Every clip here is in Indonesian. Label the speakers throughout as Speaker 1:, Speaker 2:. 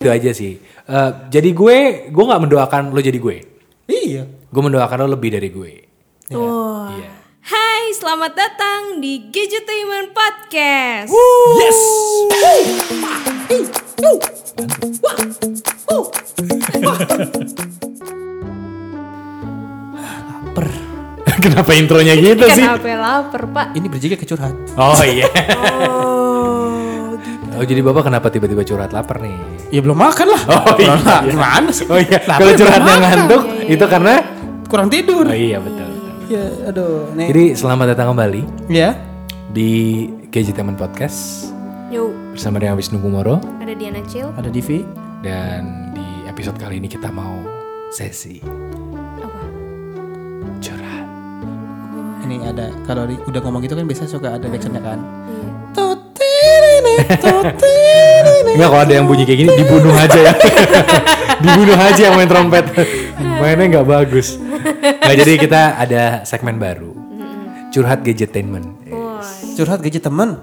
Speaker 1: itu aja sih Eh, jadi gue gue nggak mendoakan lo jadi gue
Speaker 2: Iya.
Speaker 1: gue mendoakan lo lebih dari gue
Speaker 3: Wah.
Speaker 1: Iya.
Speaker 3: Hai, selamat datang di Gadgetainment Podcast.
Speaker 2: Yes.
Speaker 1: kenapa intronya gitu sih
Speaker 3: Kenapa lapar, Pak?
Speaker 2: Ini berjaga ke curhat.
Speaker 1: oh iya
Speaker 3: Oh, gitu.
Speaker 1: oh jadi bapak kenapa tiba-tiba curhat lapar nih
Speaker 2: Ya belum makan lah.
Speaker 1: Oh, iya.
Speaker 2: Nah, Gimana sih?
Speaker 1: oh iya
Speaker 2: Lapar
Speaker 1: kalau
Speaker 2: ya belum
Speaker 1: curhatnya
Speaker 2: makan.
Speaker 1: ngantuk
Speaker 3: Iya,
Speaker 1: itu karena
Speaker 2: Kurang tidur.
Speaker 1: oh iya betul, betul.
Speaker 2: Ya, aduh. Nih.
Speaker 1: jadi selamat datang kembali
Speaker 2: Ya.
Speaker 1: di KJ Teman Podcast
Speaker 3: Yo,
Speaker 1: bersama dengan Wisnu Kumoro
Speaker 3: ada Diana Cil.
Speaker 2: Ada Divi.
Speaker 1: dan di episode kali ini kita mau sesi
Speaker 3: Apa?
Speaker 1: curhat
Speaker 2: Ini ada kalau di- udah ngomong gitu kan biasa suka ada backsoundnya kan.
Speaker 3: Iya.
Speaker 2: Tutirine, tutirine.
Speaker 1: Enggak kalau ada yang bunyi kayak gini dibunuh aja ya. dibunuh aja yang main trompet. Mainnya nggak bagus. Nah, jadi kita ada segmen baru. Curhat gadgetainment.
Speaker 2: Curhat gadget teman.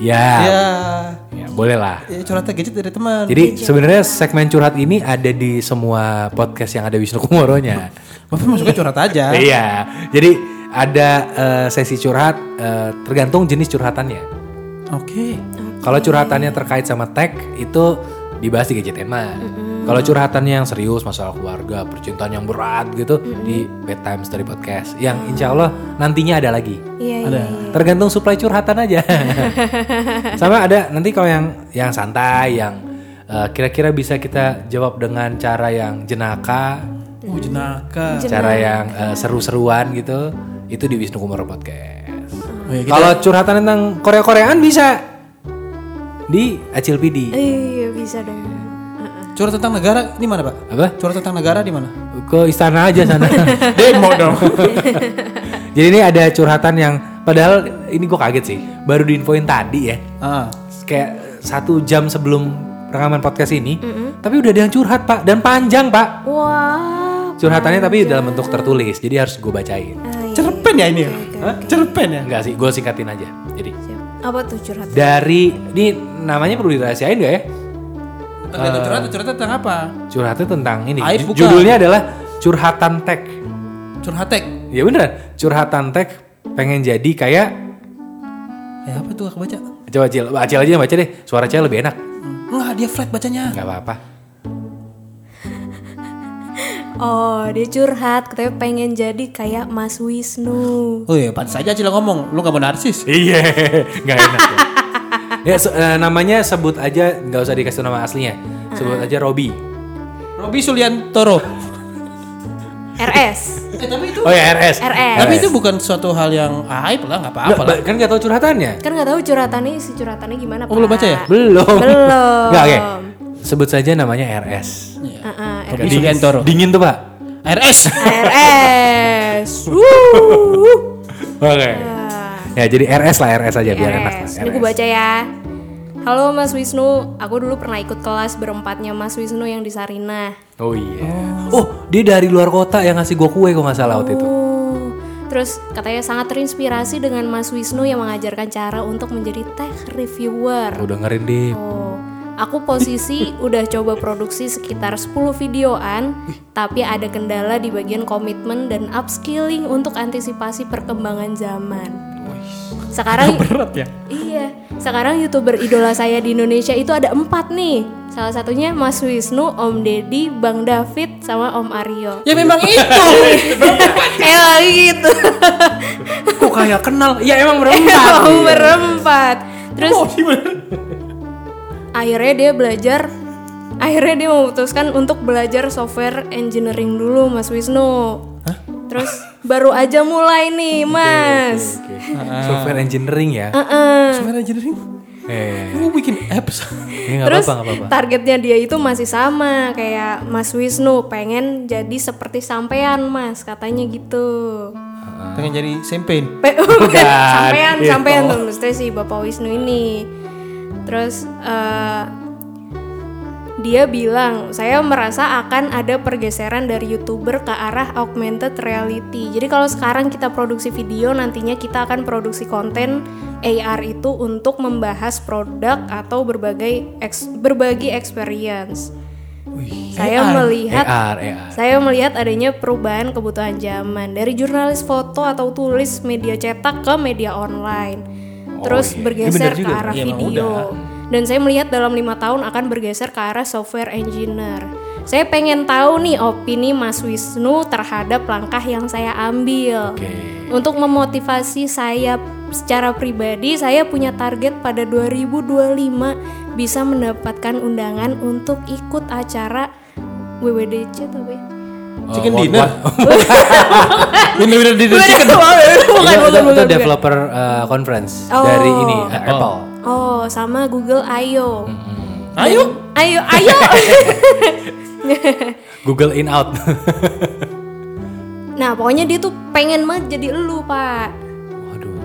Speaker 1: Ya.
Speaker 2: Ya.
Speaker 1: Ya, boleh lah.
Speaker 2: ya, curhatnya gadget dari teman.
Speaker 1: Jadi sebenarnya segmen curhat ini ada di semua podcast yang ada Wisnu Kumoronya.
Speaker 2: Bapak masuknya curhat aja.
Speaker 1: Iya. Jadi ada eh, sesi curhat eh, tergantung jenis curhatannya.
Speaker 2: Oke.
Speaker 1: Kalau curhatannya terkait sama tech itu dibahas di gadgeteman. Kalau curhatannya yang serius masalah keluarga, percintaan yang berat gitu di bedtime story podcast. Yang insya Allah nantinya ada lagi.
Speaker 3: Iya, iya.
Speaker 1: Tergantung supply curhatan aja. sama ada nanti kalau yang yang santai, yang eh, kira-kira bisa kita jawab dengan cara yang jenaka,
Speaker 2: Oh, jenaka.
Speaker 1: cara yang eh, seru-seruan gitu, itu di Wisnu Kumoro podcast.
Speaker 2: Oh, ya, kita-
Speaker 1: Kalau curhatan tentang Korea-Koreaan bisa di Acil Pidi.
Speaker 3: Iya, bisa dong. Heeh.
Speaker 2: curhat tentang negara ini mana, Pak?
Speaker 1: Apa?
Speaker 2: Curhat tentang negara di mana?
Speaker 1: Ke istana aja sana.
Speaker 2: Demo dong.
Speaker 1: Jadi ini ada curhatan yang padahal ini gue kaget sih. Baru diinfoin tadi ya.
Speaker 2: ah.
Speaker 1: Kayak satu jam sebelum rekaman podcast ini. Tapi udah ada yang curhat pak dan panjang pak.
Speaker 3: Wah. Ah,
Speaker 1: Curhatannya tapi dalam bentuk tertulis. Jadi harus gue bacain.
Speaker 3: Ay,
Speaker 2: Cerpen ya ini? Hah? Cerpen ya?
Speaker 1: Enggak sih, gue singkatin aja. Jadi
Speaker 3: siap. Apa tuh curhat?
Speaker 1: dari ini namanya perlu dirahasiain gak ya?
Speaker 2: Tergantung curhat, curhat tentang apa?
Speaker 1: Curhatnya tentang ini.
Speaker 2: Aib
Speaker 1: Ju-
Speaker 2: bukan.
Speaker 1: Judulnya adalah curhatan tech.
Speaker 2: Curhatek.
Speaker 1: Ya beneran, curhatan tech pengen jadi kayak
Speaker 2: Ya apa tuh aku baca?
Speaker 1: coba Acil, Acil aja yang baca deh. Suara Acil lebih enak.
Speaker 2: Enggak, dia flat bacanya.
Speaker 1: nggak apa-apa.
Speaker 3: Oh, dia curhat katanya pengen jadi kayak Mas Wisnu.
Speaker 2: Oh iya, pantas aja Cila ngomong. Lu gak mau narsis.
Speaker 1: Iya, nggak enak. ya se- eh, namanya sebut aja nggak usah dikasih nama aslinya. Sebut aja Robi.
Speaker 2: Robi Suliantoro.
Speaker 3: RS.
Speaker 2: eh, tapi itu
Speaker 1: Oh ya RS.
Speaker 3: RS.
Speaker 2: tapi itu bukan suatu hal yang aib lah,
Speaker 1: Nggak,
Speaker 2: nggak apa-apa lah.
Speaker 1: ba- kan nggak tahu curhatannya.
Speaker 3: Kan nggak tahu curhatannya isi curhatannya gimana,
Speaker 2: Oh, belum baca ya?
Speaker 1: Belum.
Speaker 3: Belum.
Speaker 1: Nggak, oke. Sebut saja namanya RS.
Speaker 2: Iya.
Speaker 3: Heeh,
Speaker 2: Robi Suliantoro.
Speaker 1: Dingin tuh, Pak.
Speaker 2: RS.
Speaker 3: Ah, RS. Wuh.
Speaker 1: Oke. Ya jadi RS lah, RS aja biar enak. lah,
Speaker 3: RS. Ah, Ini gue
Speaker 1: RS.
Speaker 3: baca ya. Halo Mas Wisnu, aku dulu pernah ikut kelas berempatnya Mas Wisnu yang di Sarinah.
Speaker 1: Oh iya. Oh, dia dari luar kota yang ngasih gua kue kok nggak salah waktu itu.
Speaker 3: Oh. Terus katanya sangat terinspirasi dengan Mas Wisnu yang mengajarkan cara untuk menjadi tech reviewer.
Speaker 1: Udah dengerin deh.
Speaker 3: Oh. Aku posisi udah coba produksi sekitar 10 videoan, tapi ada kendala di bagian komitmen dan upskilling untuk antisipasi perkembangan zaman. Sekarang
Speaker 2: Berat ya.
Speaker 3: Iya, sekarang youtuber idola saya di Indonesia itu ada empat nih. Salah satunya Mas Wisnu, Om Deddy, Bang David, sama Om Aryo.
Speaker 2: Ya memang itu.
Speaker 3: Elah gitu,
Speaker 1: Kok kayak kenal? Ya emang berempat.
Speaker 3: Om berempat. Terus
Speaker 1: Oh,
Speaker 3: akhirnya dia belajar, akhirnya dia memutuskan untuk belajar software engineering dulu Mas Wisnu. Terus baru aja mulai nih Mas.
Speaker 1: Software engineering ya.
Speaker 2: Sebenarnya engineering.
Speaker 1: Eh,
Speaker 2: Lu bikin apps.
Speaker 1: ya nggak
Speaker 3: Terus
Speaker 1: apa-apa, nggak apa-apa.
Speaker 3: targetnya dia itu masih sama kayak Mas Wisnu pengen jadi seperti sampean Mas katanya gitu.
Speaker 2: Pengen jadi champagne.
Speaker 3: Pe- bukan, sampean
Speaker 1: iya.
Speaker 3: sampean tuh mesti si Bapak Wisnu ini. Terus eh, dia bilang saya merasa akan ada pergeseran dari youtuber ke arah augmented reality. Jadi kalau sekarang kita produksi video, nantinya kita akan produksi konten AR itu untuk membahas produk atau berbagai eks- berbagi experience. Saya
Speaker 2: AR.
Speaker 3: melihat
Speaker 1: AR, AR.
Speaker 3: saya melihat adanya perubahan kebutuhan zaman dari jurnalis foto atau tulis media cetak ke media online. Terus
Speaker 1: iya.
Speaker 3: bergeser
Speaker 1: Ini bener
Speaker 3: ke
Speaker 1: juga.
Speaker 3: arah
Speaker 2: Iya, emang
Speaker 3: video.
Speaker 2: udah.
Speaker 3: Dan saya melihat dalam lima tahun akan bergeser ke arah software engineer. Saya pengen tahu nih opini Mas Wisnu terhadap langkah yang saya ambil.
Speaker 1: Oke.
Speaker 3: Untuk memotivasi saya secara pribadi, saya punya target pada 2025 bisa mendapatkan undangan untuk ikut acara WWDC tapi
Speaker 1: Eh,
Speaker 2: Chicken
Speaker 1: what-
Speaker 2: dinner.
Speaker 1: what- Ah.
Speaker 2: Bener-bener di
Speaker 3: bukan, bukan,
Speaker 1: Iya, itu,
Speaker 3: bukan,
Speaker 1: itu- itu
Speaker 3: bukan.
Speaker 1: developer eh, conference
Speaker 3: Oh.
Speaker 1: dari ini eh, Apple.
Speaker 3: Oh, sama Google I.O.
Speaker 1: Hmm.
Speaker 2: Ayo.
Speaker 3: Ayo, ayo.
Speaker 1: Google in out.
Speaker 3: nah, pokoknya dia tuh pengen banget jadi elu, Pak.
Speaker 1: Waduh.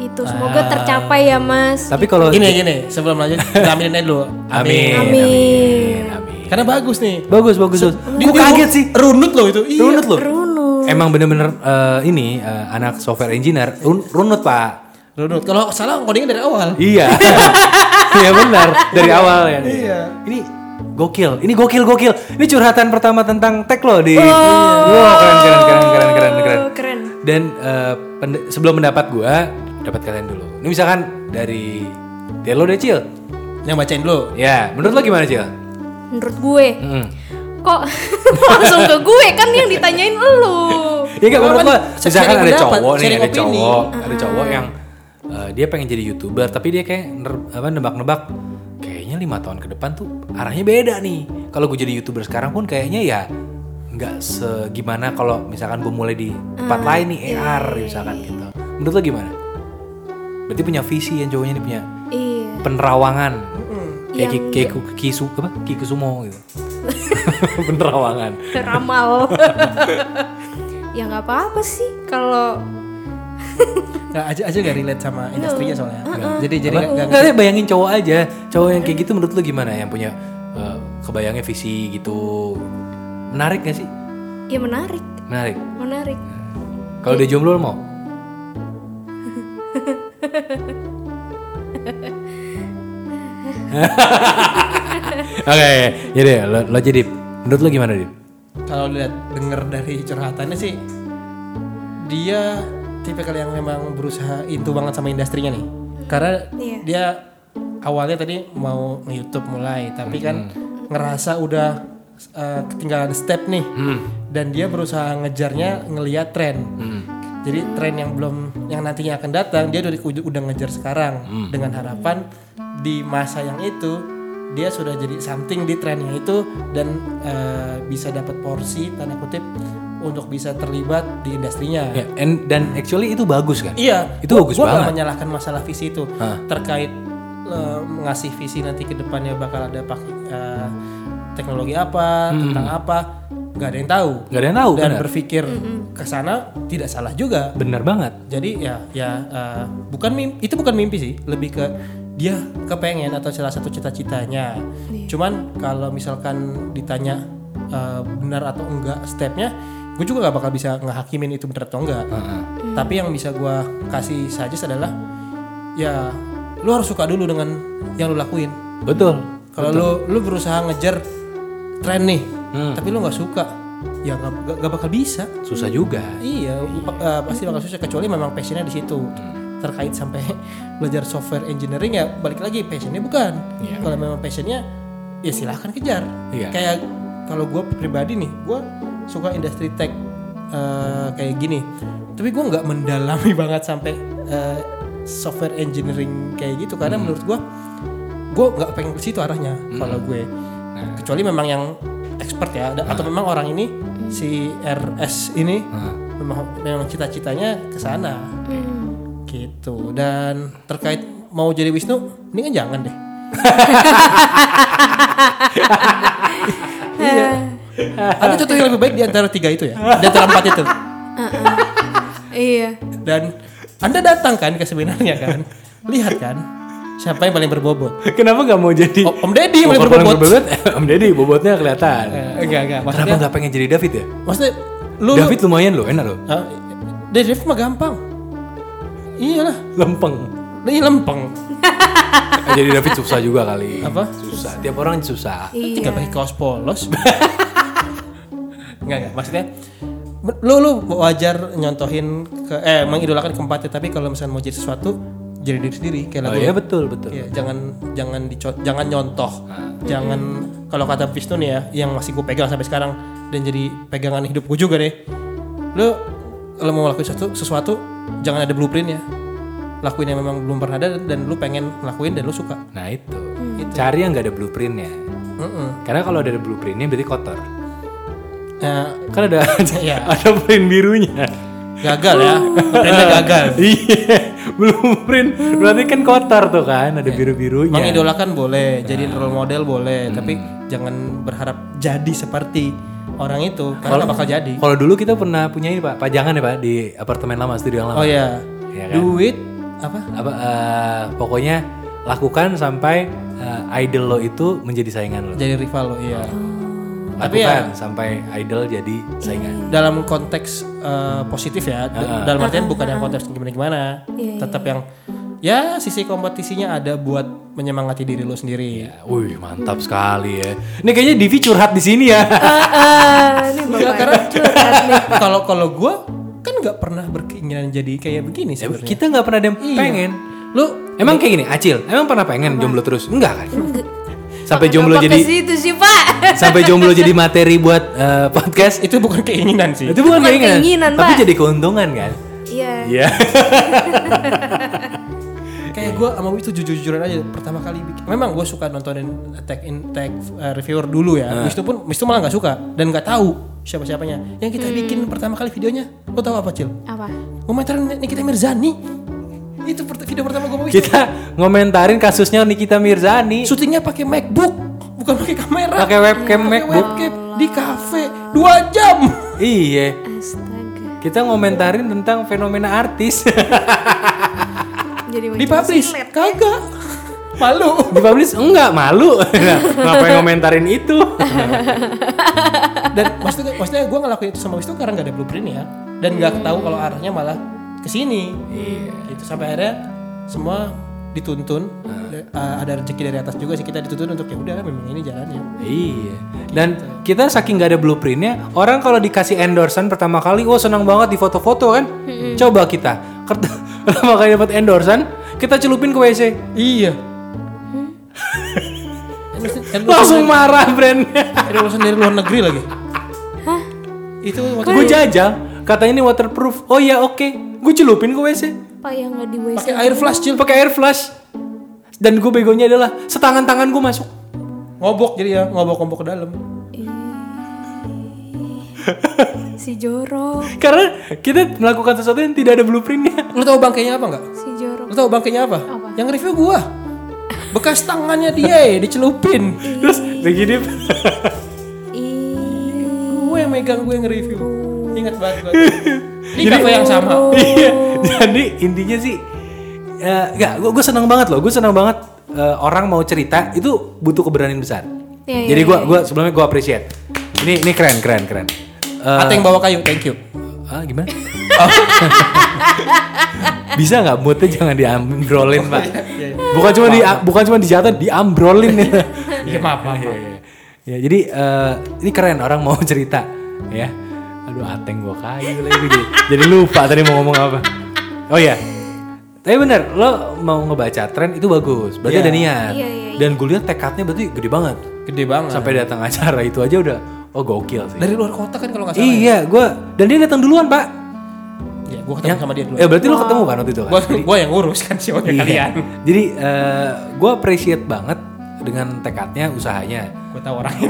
Speaker 3: Itu
Speaker 1: Ah.
Speaker 3: semoga tercapai ya, Mas.
Speaker 1: Tapi kalau
Speaker 2: Gini gini, sebelum lanjut kita aminin aja dulu.
Speaker 1: amin.
Speaker 3: Amin.
Speaker 1: amin.
Speaker 2: Karena bagus nih.
Speaker 1: Bagus bagus. bagus.
Speaker 2: Dia-
Speaker 1: Gua
Speaker 2: dia
Speaker 1: kaget
Speaker 2: ru-
Speaker 1: sih.
Speaker 2: Runut loh itu. Iya.
Speaker 1: Runut loh.
Speaker 3: Runut.
Speaker 1: Emang bener-bener eh, ini eh, anak software engineer run- runut pak.
Speaker 2: Runut. Kalau salah codingnya dari awal.
Speaker 1: Iya. Iya benar dari awal ya. Iya. Ini gokil. Ini gokil gokil. Ini curhatan pertama tentang tech loh di. Wah keren keren keren keren keren keren.
Speaker 3: Keren.
Speaker 1: Dan eh, pend- sebelum mendapat gua, dapat kalian dulu. Ini misalkan dari dari lo deh Cil.
Speaker 2: Yang bacain dulu.
Speaker 1: Ya, menurut lo gimana Cil?
Speaker 3: Menurut gue,
Speaker 1: Mm.
Speaker 3: kok langsung ke gue kan yang ditanyain elu.
Speaker 1: Ya gak menurut lo,
Speaker 2: Sharing
Speaker 1: misalkan ada
Speaker 2: pendapat,
Speaker 1: cowok nih,
Speaker 2: sharing
Speaker 1: ada
Speaker 2: opini. Ah.
Speaker 1: cowok, ada cowok yang eh, dia pengen jadi youtuber, tapi dia kayak ner- apa nebak-nebak, kayaknya lima tahun ke depan tuh arahnya beda nih. Kalau gue jadi youtuber sekarang pun kayaknya ya nggak segimana kalau misalkan gue mulai di tempat
Speaker 2: Ah,
Speaker 1: lain nih
Speaker 2: iya,
Speaker 1: AR misalkan gitu. Menurut lo gimana? Berarti punya visi yang cowoknya ini punya
Speaker 3: Iya.
Speaker 1: penerawangan kayak ki, kayak ku- kisu apa kikusumo gitu penerawangan
Speaker 3: Ramal. ya nggak apa-apa sih kalau
Speaker 2: Nggak aja aja gak relate sama industrinya soalnya. Jadi
Speaker 1: Iya. Apa?
Speaker 2: jadi nggak- nggak-
Speaker 1: Nggak, deh, bayangin cowok aja cowok yang kayak gitu menurut lu gimana yang punya eh, kebayangnya visi gitu menarik gak sih
Speaker 3: ya menarik,
Speaker 1: menarik
Speaker 3: menarik.
Speaker 1: kalau dia jomblo lu mau oke jadi lo, lo jadi menurut lo gimana Dip?
Speaker 2: kalau lihat denger dari curhatannya sih dia tipikal yang memang berusaha itu banget sama industrinya nih karena
Speaker 3: Iya.
Speaker 2: dia awalnya tadi mau nge-youtube mulai tapi kan ngerasa udah uh, ketinggalan step nih
Speaker 1: Hmm.
Speaker 2: dan dia berusaha ngejarnya ngeliat tren jadi tren yang belum yang nantinya akan datang dia udah udah ngejar sekarang
Speaker 1: Hmm.
Speaker 2: dengan harapan di masa yang itu dia sudah jadi something di trennya itu dan eh, bisa dapat porsi tanda kutip untuk bisa terlibat di industrinya.
Speaker 1: Ya, and- dan actually itu bagus kan
Speaker 2: Iya,
Speaker 1: Itu bagus
Speaker 2: gua nggak
Speaker 1: banget.
Speaker 2: menyalahkan masalah visi itu terkait eh, ngasih visi nanti ke depannya bakal ada pakai eh, teknologi apa, tentang apa, nggak ada yang tahu.
Speaker 1: Hmm. nggak ada yang tahu kan?
Speaker 2: Dan
Speaker 1: bener.
Speaker 2: berpikir ke sana tidak salah juga.
Speaker 1: bener banget
Speaker 2: Jadi ya ya eh, bukan mimpi, itu bukan mimpi sih, lebih ke dia kepengen atau salah satu cita-citanya. Cuman kalau misalkan ditanya eh, benar atau enggak stepnya, gue juga gak bakal bisa ngehakimin itu benar atau enggak. Tapi yang bisa gue kasih suggest adalah ya lu harus suka dulu dengan yang lu lakuin.
Speaker 1: betul
Speaker 2: Kalau lu lu berusaha ngejar tren nih, tapi lu nggak suka, ya nggak nggak- nggak bakal bisa.
Speaker 1: susah juga
Speaker 2: Iya, pa- eh, pasti bakal susah kecuali memang passionnya di situ. Terkait sampai belajar software engineering ya balik lagi passionnya bukan. Kalau memang passionnya ya silahkan kejar.
Speaker 1: Iya.
Speaker 2: Kayak kalau gue pribadi nih, gue suka industri tech eh, kayak gini. Tapi gue nggak mendalami banget sampai eh, software engineering kayak gitu karena menurut gue gue nggak pengen ke situ arahnya kalau gue kecuali memang yang expert ya ada- atau memang orang ini si RS ini
Speaker 1: Ah. Nah.
Speaker 2: memang memang cita-citanya ke sana gitu dan terkait mau jadi Wisnu ini kan jangan deh iya ada contoh yang lebih baik di antara tiga itu ya di antara empat itu
Speaker 3: Iya.
Speaker 2: dan anda datang kan ke seminarnya kan lihat kan Siapa yang paling berbobot?
Speaker 1: Kenapa nggak mau jadi
Speaker 2: O- Om Deddy
Speaker 1: Om
Speaker 2: yang
Speaker 1: Deddy
Speaker 2: paling berbobot.
Speaker 1: berbobot? Om Deddy bobotnya kelihatan.
Speaker 2: Eh, Enggak, enggak.
Speaker 1: Kenapa
Speaker 2: Maksudnya,
Speaker 1: nggak pengen jadi David ya?
Speaker 2: maksudnya lu
Speaker 1: David lumayan loh, enak loh.
Speaker 2: Hah? Dari David mah gampang. Iyalah,
Speaker 1: Lempeng.
Speaker 2: ini lempeng.
Speaker 1: Eh, jadi David susah juga kali.
Speaker 2: Apa?
Speaker 1: Susah. Tiap orang susah.
Speaker 2: Tiga
Speaker 3: Iya.
Speaker 2: pakai kaos polos. Enggak, enggak. Maksudnya lu lu wajar nyontohin ke eh mengidolakan keempatnya tapi kalau misalnya mau jadi sesuatu jadi diri sendiri kayak
Speaker 1: Oh
Speaker 2: lagu
Speaker 1: iya betul betul.
Speaker 2: Iya, jangan jangan dico- jangan nyontoh. Jangan kalau kata Vishnu nih ya, yang masih gue pegang sampai sekarang dan jadi pegangan hidup gue juga deh. Lu kalau mau lakuin sesuatu, sesuatu jangan ada blueprintnya. Lakuin yang memang belum pernah ada dan lu pengen lakuin dan lu suka.
Speaker 1: Nah itu. Cari yang nggak ada blueprintnya.
Speaker 2: Hmm. Gitu. Mm-mm.
Speaker 1: Karena kalau ada blueprintnya berarti kotor.
Speaker 2: Nah,
Speaker 1: Kan ada
Speaker 2: Iya.
Speaker 1: ada print birunya.
Speaker 2: gagal ya. Blueprintnya gagal.
Speaker 1: Iya, blueprint berarti kan kotor tuh kan,
Speaker 2: Iya.
Speaker 1: ada biru-birunya.
Speaker 2: Mengidolakan kan boleh,
Speaker 1: Iya.
Speaker 2: jadi role model boleh,
Speaker 1: Hmm.
Speaker 2: tapi jangan berharap jadi seperti orang itu karena bakal jadi.
Speaker 1: Kalau dulu kita pernah punya ini Pak, pajangan ya Pak di apartemen lama, studio yang lama.
Speaker 2: Oh ya.
Speaker 1: Iya kan?
Speaker 2: Duit apa?
Speaker 1: Apa eh, pokoknya lakukan sampai eh, idol lo itu menjadi saingan lo.
Speaker 2: Jadi rival lo, iya.
Speaker 1: Oh. Lakukan
Speaker 2: Tapi ya
Speaker 1: sampai idol jadi saingan.
Speaker 2: dalam konteks eh, positif ya d- dalam artian bukan yang konteks gimana gimana tetap yang ya sisi kompetisinya ada buat menyemangati diri lo
Speaker 1: Iya.
Speaker 2: sendiri
Speaker 1: Wih, mantap sekali ya. Ini kayaknya Divi curhat di sini ya.
Speaker 3: Ah, ini
Speaker 2: Enggak,
Speaker 3: bapak. ya.
Speaker 2: karena kalau kalau gue kan nggak pernah berkeinginan jadi kayak begini
Speaker 1: Ya,
Speaker 2: sebenarnya
Speaker 1: kita nggak pernah ada yang pengen.
Speaker 2: lo
Speaker 1: Emang kayak gini, Acil. Emang pernah pengen jomblo terus? Enggak kan? Sampai jomblo
Speaker 3: Bapak ke
Speaker 1: jadi
Speaker 3: situ sih pak.
Speaker 1: sampai jomblo jadi materi buat eh, podcast
Speaker 2: itu bukan keinginan sih
Speaker 1: itu bukan
Speaker 3: Bukan
Speaker 1: keinginan,
Speaker 3: keinginan,
Speaker 1: tapi
Speaker 3: Pak.
Speaker 1: jadi keuntungan kan
Speaker 3: Iya.
Speaker 1: iya
Speaker 2: kayak gue sama Wisnu jujur-jujuran aja pertama kali bikin memang gue suka nontonin Attack in Attack uh, reviewer dulu ya
Speaker 1: Nah.
Speaker 2: Wisnu pun Wisnu malah nggak suka dan nggak tahu siapa-siapanya yang kita bikin pertama kali videonya lo tahu apa cil
Speaker 3: Apa?
Speaker 2: komentarin Nikita Mirzani itu per- video pertama gue mau bikin
Speaker 1: kita ngomentarin kasusnya Nikita Mirzani
Speaker 2: syutingnya pakai MacBook bukan pakai kamera
Speaker 1: pakai webcam
Speaker 2: Pakai
Speaker 1: MacBook
Speaker 2: webcam di kafe dua jam
Speaker 1: iya
Speaker 3: Astaga.
Speaker 1: kita ngomentarin tentang fenomena artis
Speaker 3: Jadi
Speaker 2: di
Speaker 3: macam
Speaker 2: publish
Speaker 3: singlet.
Speaker 2: kagak malu
Speaker 1: di publish enggak malu Nah, ngapain ngomentarin itu
Speaker 2: dan maksudnya maksudnya gue ngelakuin itu sama Wisnu karena nggak ada blueprint ya dan nggak tahu kalau arahnya malah ke sini gitu sampai akhirnya semua dituntun Da- uh, ada rezeki dari atas juga sih kita dituntun untuk ya udah memang ini jalannya
Speaker 1: iya dan kita saking nggak ada blueprintnya orang kalau dikasih endorsan pertama kali wah senang banget di foto-foto kan coba kita Ket- pertama kali dapat endorsan kita celupin ke WC
Speaker 2: iya
Speaker 1: langsung marah brandnya
Speaker 2: Lulusan dari luar negeri lagi.
Speaker 3: Hah?
Speaker 2: Itu waktu
Speaker 1: Gue jajal, katanya ini waterproof. Oh ya oke, gue celupin ke WC.
Speaker 3: Pak yang nggak di WC.
Speaker 2: pakai air flash cil
Speaker 1: Pakai air flush. Dan gue begonya adalah setangan tangan gue masuk.
Speaker 2: ngobok jadi ya ngobok ngobok ke dalam.
Speaker 3: Si jorok,
Speaker 1: Karena kita melakukan sesuatu yang tidak ada blueprintnya.
Speaker 2: Lu tahu bangkainya apa nggak?
Speaker 3: si jorok.
Speaker 2: Lu tahu bangkainya apa?
Speaker 3: Apa?
Speaker 2: Yang review gua. Bekas tangannya dia ya, dicelupin.
Speaker 1: Terus lagi dia
Speaker 3: Ih.
Speaker 2: Gue yang megang gue yang review. Ingat banget gua. Di kafe yang
Speaker 3: Oh.
Speaker 2: sama.
Speaker 1: Iya, Jadi intinya sih, eh, nggak, gue gue senang banget loh. Gue senang banget eh, orang mau cerita itu butuh keberanian besar.
Speaker 3: Iya, iya,
Speaker 1: Jadi gue gua sebelumnya gue appreciate. Ini ini keren keren keren. Eh,
Speaker 2: Ateng bawa kayu, thank you.
Speaker 1: Ah, gimana? Bisa nggak moodnya jangan diambrolin pak? Bukan cuma di bukan cuma dijatuh, diambrolin ya.
Speaker 2: Iya maaf maaf. maaf.
Speaker 1: ya jadi eh, ini keren orang mau cerita ya. Aduh ateng gua kayu lagi jadi, jadi lupa tadi mau ngomong apa. Oh ya. Tapi bener, lo mau ngebaca tren itu bagus. Berarti
Speaker 2: Iya.
Speaker 1: ada niat.
Speaker 3: Iya, iya, iya.
Speaker 1: Dan gue lihat tekadnya berarti gede banget.
Speaker 2: Gede banget.
Speaker 1: Sampai datang acara itu aja udah, oh gokil sih.
Speaker 2: Dari luar kota kan kalau nggak salah.
Speaker 1: iya, gua dan dia datang duluan pak.
Speaker 2: Ya, gua ketemu sama dia dulu.
Speaker 1: Ya berarti lo ketemu kan waktu itu kan?
Speaker 2: Gua, gua yang ngurus kan sih
Speaker 1: Iya.
Speaker 2: kalian.
Speaker 1: Jadi gue appreciate banget dengan tekadnya, usahanya.
Speaker 2: Gua tahu orangnya.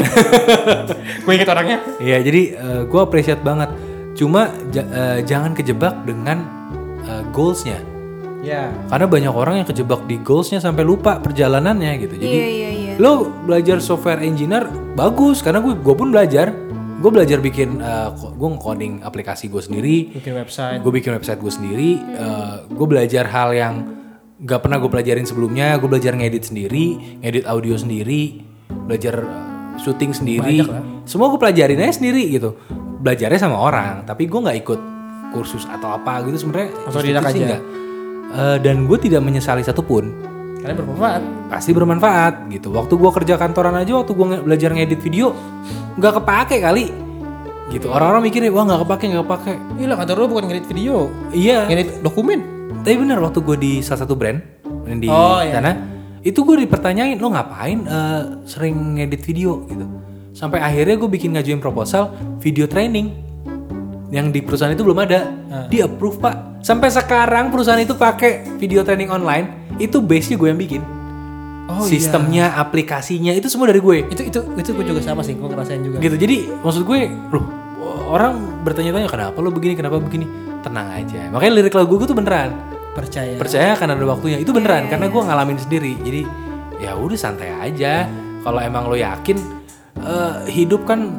Speaker 2: gua inget orangnya.
Speaker 1: Iya, jadi gue appreciate banget. Cuma ja- eh, jangan kejebak dengan eh, goalsnya,
Speaker 2: Ya.
Speaker 1: karena banyak orang yang kejebak di goalsnya sampai lupa perjalanannya gitu. Jadi
Speaker 3: Iya iya iya.
Speaker 1: lo belajar software engineer bagus, karena gue gue pun belajar. Gue belajar bikin gue nge-coding aplikasi gue sendiri.
Speaker 2: Bikin website.
Speaker 1: gue bikin website gue sendiri gue belajar eh, hal yang nggak pernah gue pelajarin sebelumnya gue belajar ngedit sendiri ngedit audio sendiri belajar eh, syuting sendiri semua gue pelajarin aja sendiri gitu belajarnya sama orang tapi gue nggak ikut kursus atau apa gitu sebenarnya
Speaker 2: Otodidak
Speaker 1: justru sih
Speaker 2: aja.
Speaker 1: nggak. Eh, dan gue tidak menyesali satupun
Speaker 2: Karena bermanfaat.
Speaker 1: pasti bermanfaat gitu. Waktu gua kerja kantoran aja, waktu gua nge- belajar ngedit video, nggak kepake kali. Gitu. Orang-orang mikir wah nggak kepake, nggak kepake.
Speaker 2: Iya lah kantor lu bukan ngedit video,
Speaker 1: Iya.
Speaker 2: ngedit dokumen.
Speaker 1: Tapi benar waktu gua di salah satu brand yang di
Speaker 2: Oh, iya.
Speaker 1: sana, itu gua dipertanyain lo ngapain eh, sering ngedit video gitu. Sampai akhirnya gue bikin ngajuin proposal video training yang di perusahaan itu belum ada. Di approve pak. Sampai sekarang perusahaan itu pakai video training online. Itu base nya gue yang bikin.
Speaker 2: Oh, iya.
Speaker 1: Sistemnya, aplikasinya itu semua dari gue.
Speaker 2: Itu itu itu gue juga sama sih, gue ngerasain juga.
Speaker 1: gitu jadi maksud gue loh orang bertanya-tanya kenapa lo begini kenapa begini tenang aja makanya lirik lagu gue tuh beneran
Speaker 2: Percaya.
Speaker 1: percaya akan ada waktunya itu beneran karena gue ngalamin sendiri jadi ya udah santai aja kalau emang lo yakin eh, hidup kan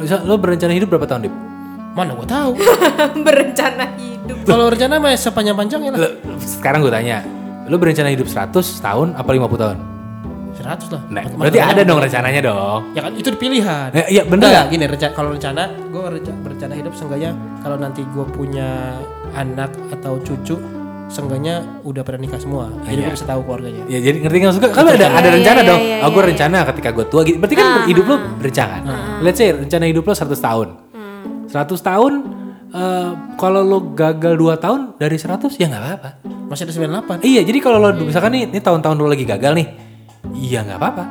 Speaker 1: bisa lo berencana hidup berapa tahun dip
Speaker 2: Mana gue tahu.
Speaker 3: berencana hidup
Speaker 2: Kalau rencana mah sepanjang-panjangnya lah.
Speaker 1: Lo- sekarang gue tanya lo berencana hidup 100 tahun apa 50 tahun
Speaker 2: 100 lah.
Speaker 1: nah,
Speaker 2: Mat-
Speaker 1: berarti
Speaker 2: mat-
Speaker 1: ada dong rencananya dong
Speaker 2: Ya kan itu di pilihan.
Speaker 1: Nah, iya
Speaker 2: Bener
Speaker 1: bener
Speaker 2: gini rencana kalau rencana gue berencana hidup seenggaknya kalau nanti gue punya anak atau cucu seenggaknya udah pada nikah semua. Jadi gue bisa tahu keluarganya.
Speaker 1: Ya jadi ngerti nggak suka kan ada ada
Speaker 3: Iya,
Speaker 1: rencana
Speaker 3: iya,
Speaker 1: dong.
Speaker 3: iya, Ah,
Speaker 1: Aku rencana ketika gue tua gitu. Berarti kan hidup lo rencana. Let's say rencana hidup lo 100 tahun.
Speaker 3: Hmm.
Speaker 1: 100 tahun eh, kalau lo gagal 2 tahun dari 100 ya nggak apa-apa.
Speaker 2: Masih ada 98.
Speaker 1: Iya, jadi kalau lo misalkan nih ini tahun-tahun lo lagi gagal nih. Iya nggak apa-apa.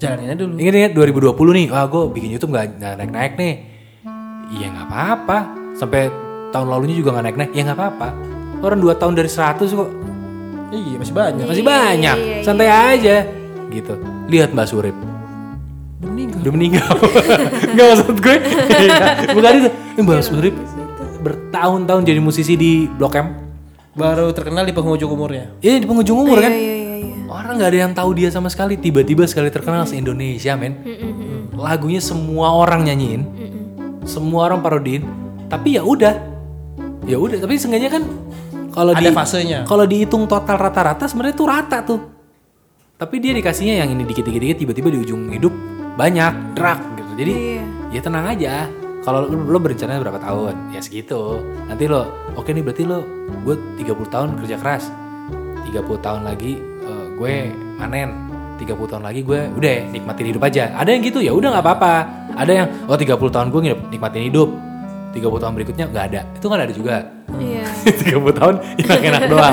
Speaker 2: Jalaninnya dulu.
Speaker 1: Ingat ya, ingat 2020 nih, wah gue bikin YouTube nggak nggak naik-naik nih. Iya nggak apa-apa. Sampai tahun lalunya juga nggak naik-naik, ya nggak apa-apa. Orang 2 tahun dari 100 kok
Speaker 2: Iya masih banyak.
Speaker 1: masih banyak. Santai aja gitu. Lihat Mbak Surip.
Speaker 2: Meninggal.
Speaker 1: Udah meninggal. Enggak maksud gue. Iya. Bukan itu. Ini Mbak Surip bertahun-tahun jadi musisi di Blok M.
Speaker 2: Baru terkenal di penghujung umurnya.
Speaker 1: Ini di penghujung umur kan.
Speaker 3: iya iya iya
Speaker 1: Orang nggak ada yang tahu dia sama sekali. Tiba-tiba sekali terkenal se-Indonesia, men. Lagunya semua orang nyanyiin. Semua orang parodiin. Tapi ya udah. Ya udah, tapi seenggaknya kan kalau
Speaker 2: Ada
Speaker 1: di-
Speaker 2: fasenya.
Speaker 1: Kalau dihitung total rata-rata sebenarnya tuh rata tuh. Tapi dia dikasihnya yang ini dikit-dikit tiba-tiba di ujung hidup banyak drak gitu. Jadi ya tenang aja. Kalau lo, lo berencana berapa tahun? Ya segitu. Nanti lo oke nih berarti lo gue 30 tahun kerja keras. 30 tahun lagi eh, gue panen. 30 tahun lagi gue udah nikmatin hidup aja. Ada yang gitu ya udah nggak apa-apa. Ada yang oh 30 tahun gue nginep- nikmatin hidup. 30 tahun berikutnya nggak ada. Itu kan ada juga.
Speaker 3: iya
Speaker 1: 30 tahun yang enak doang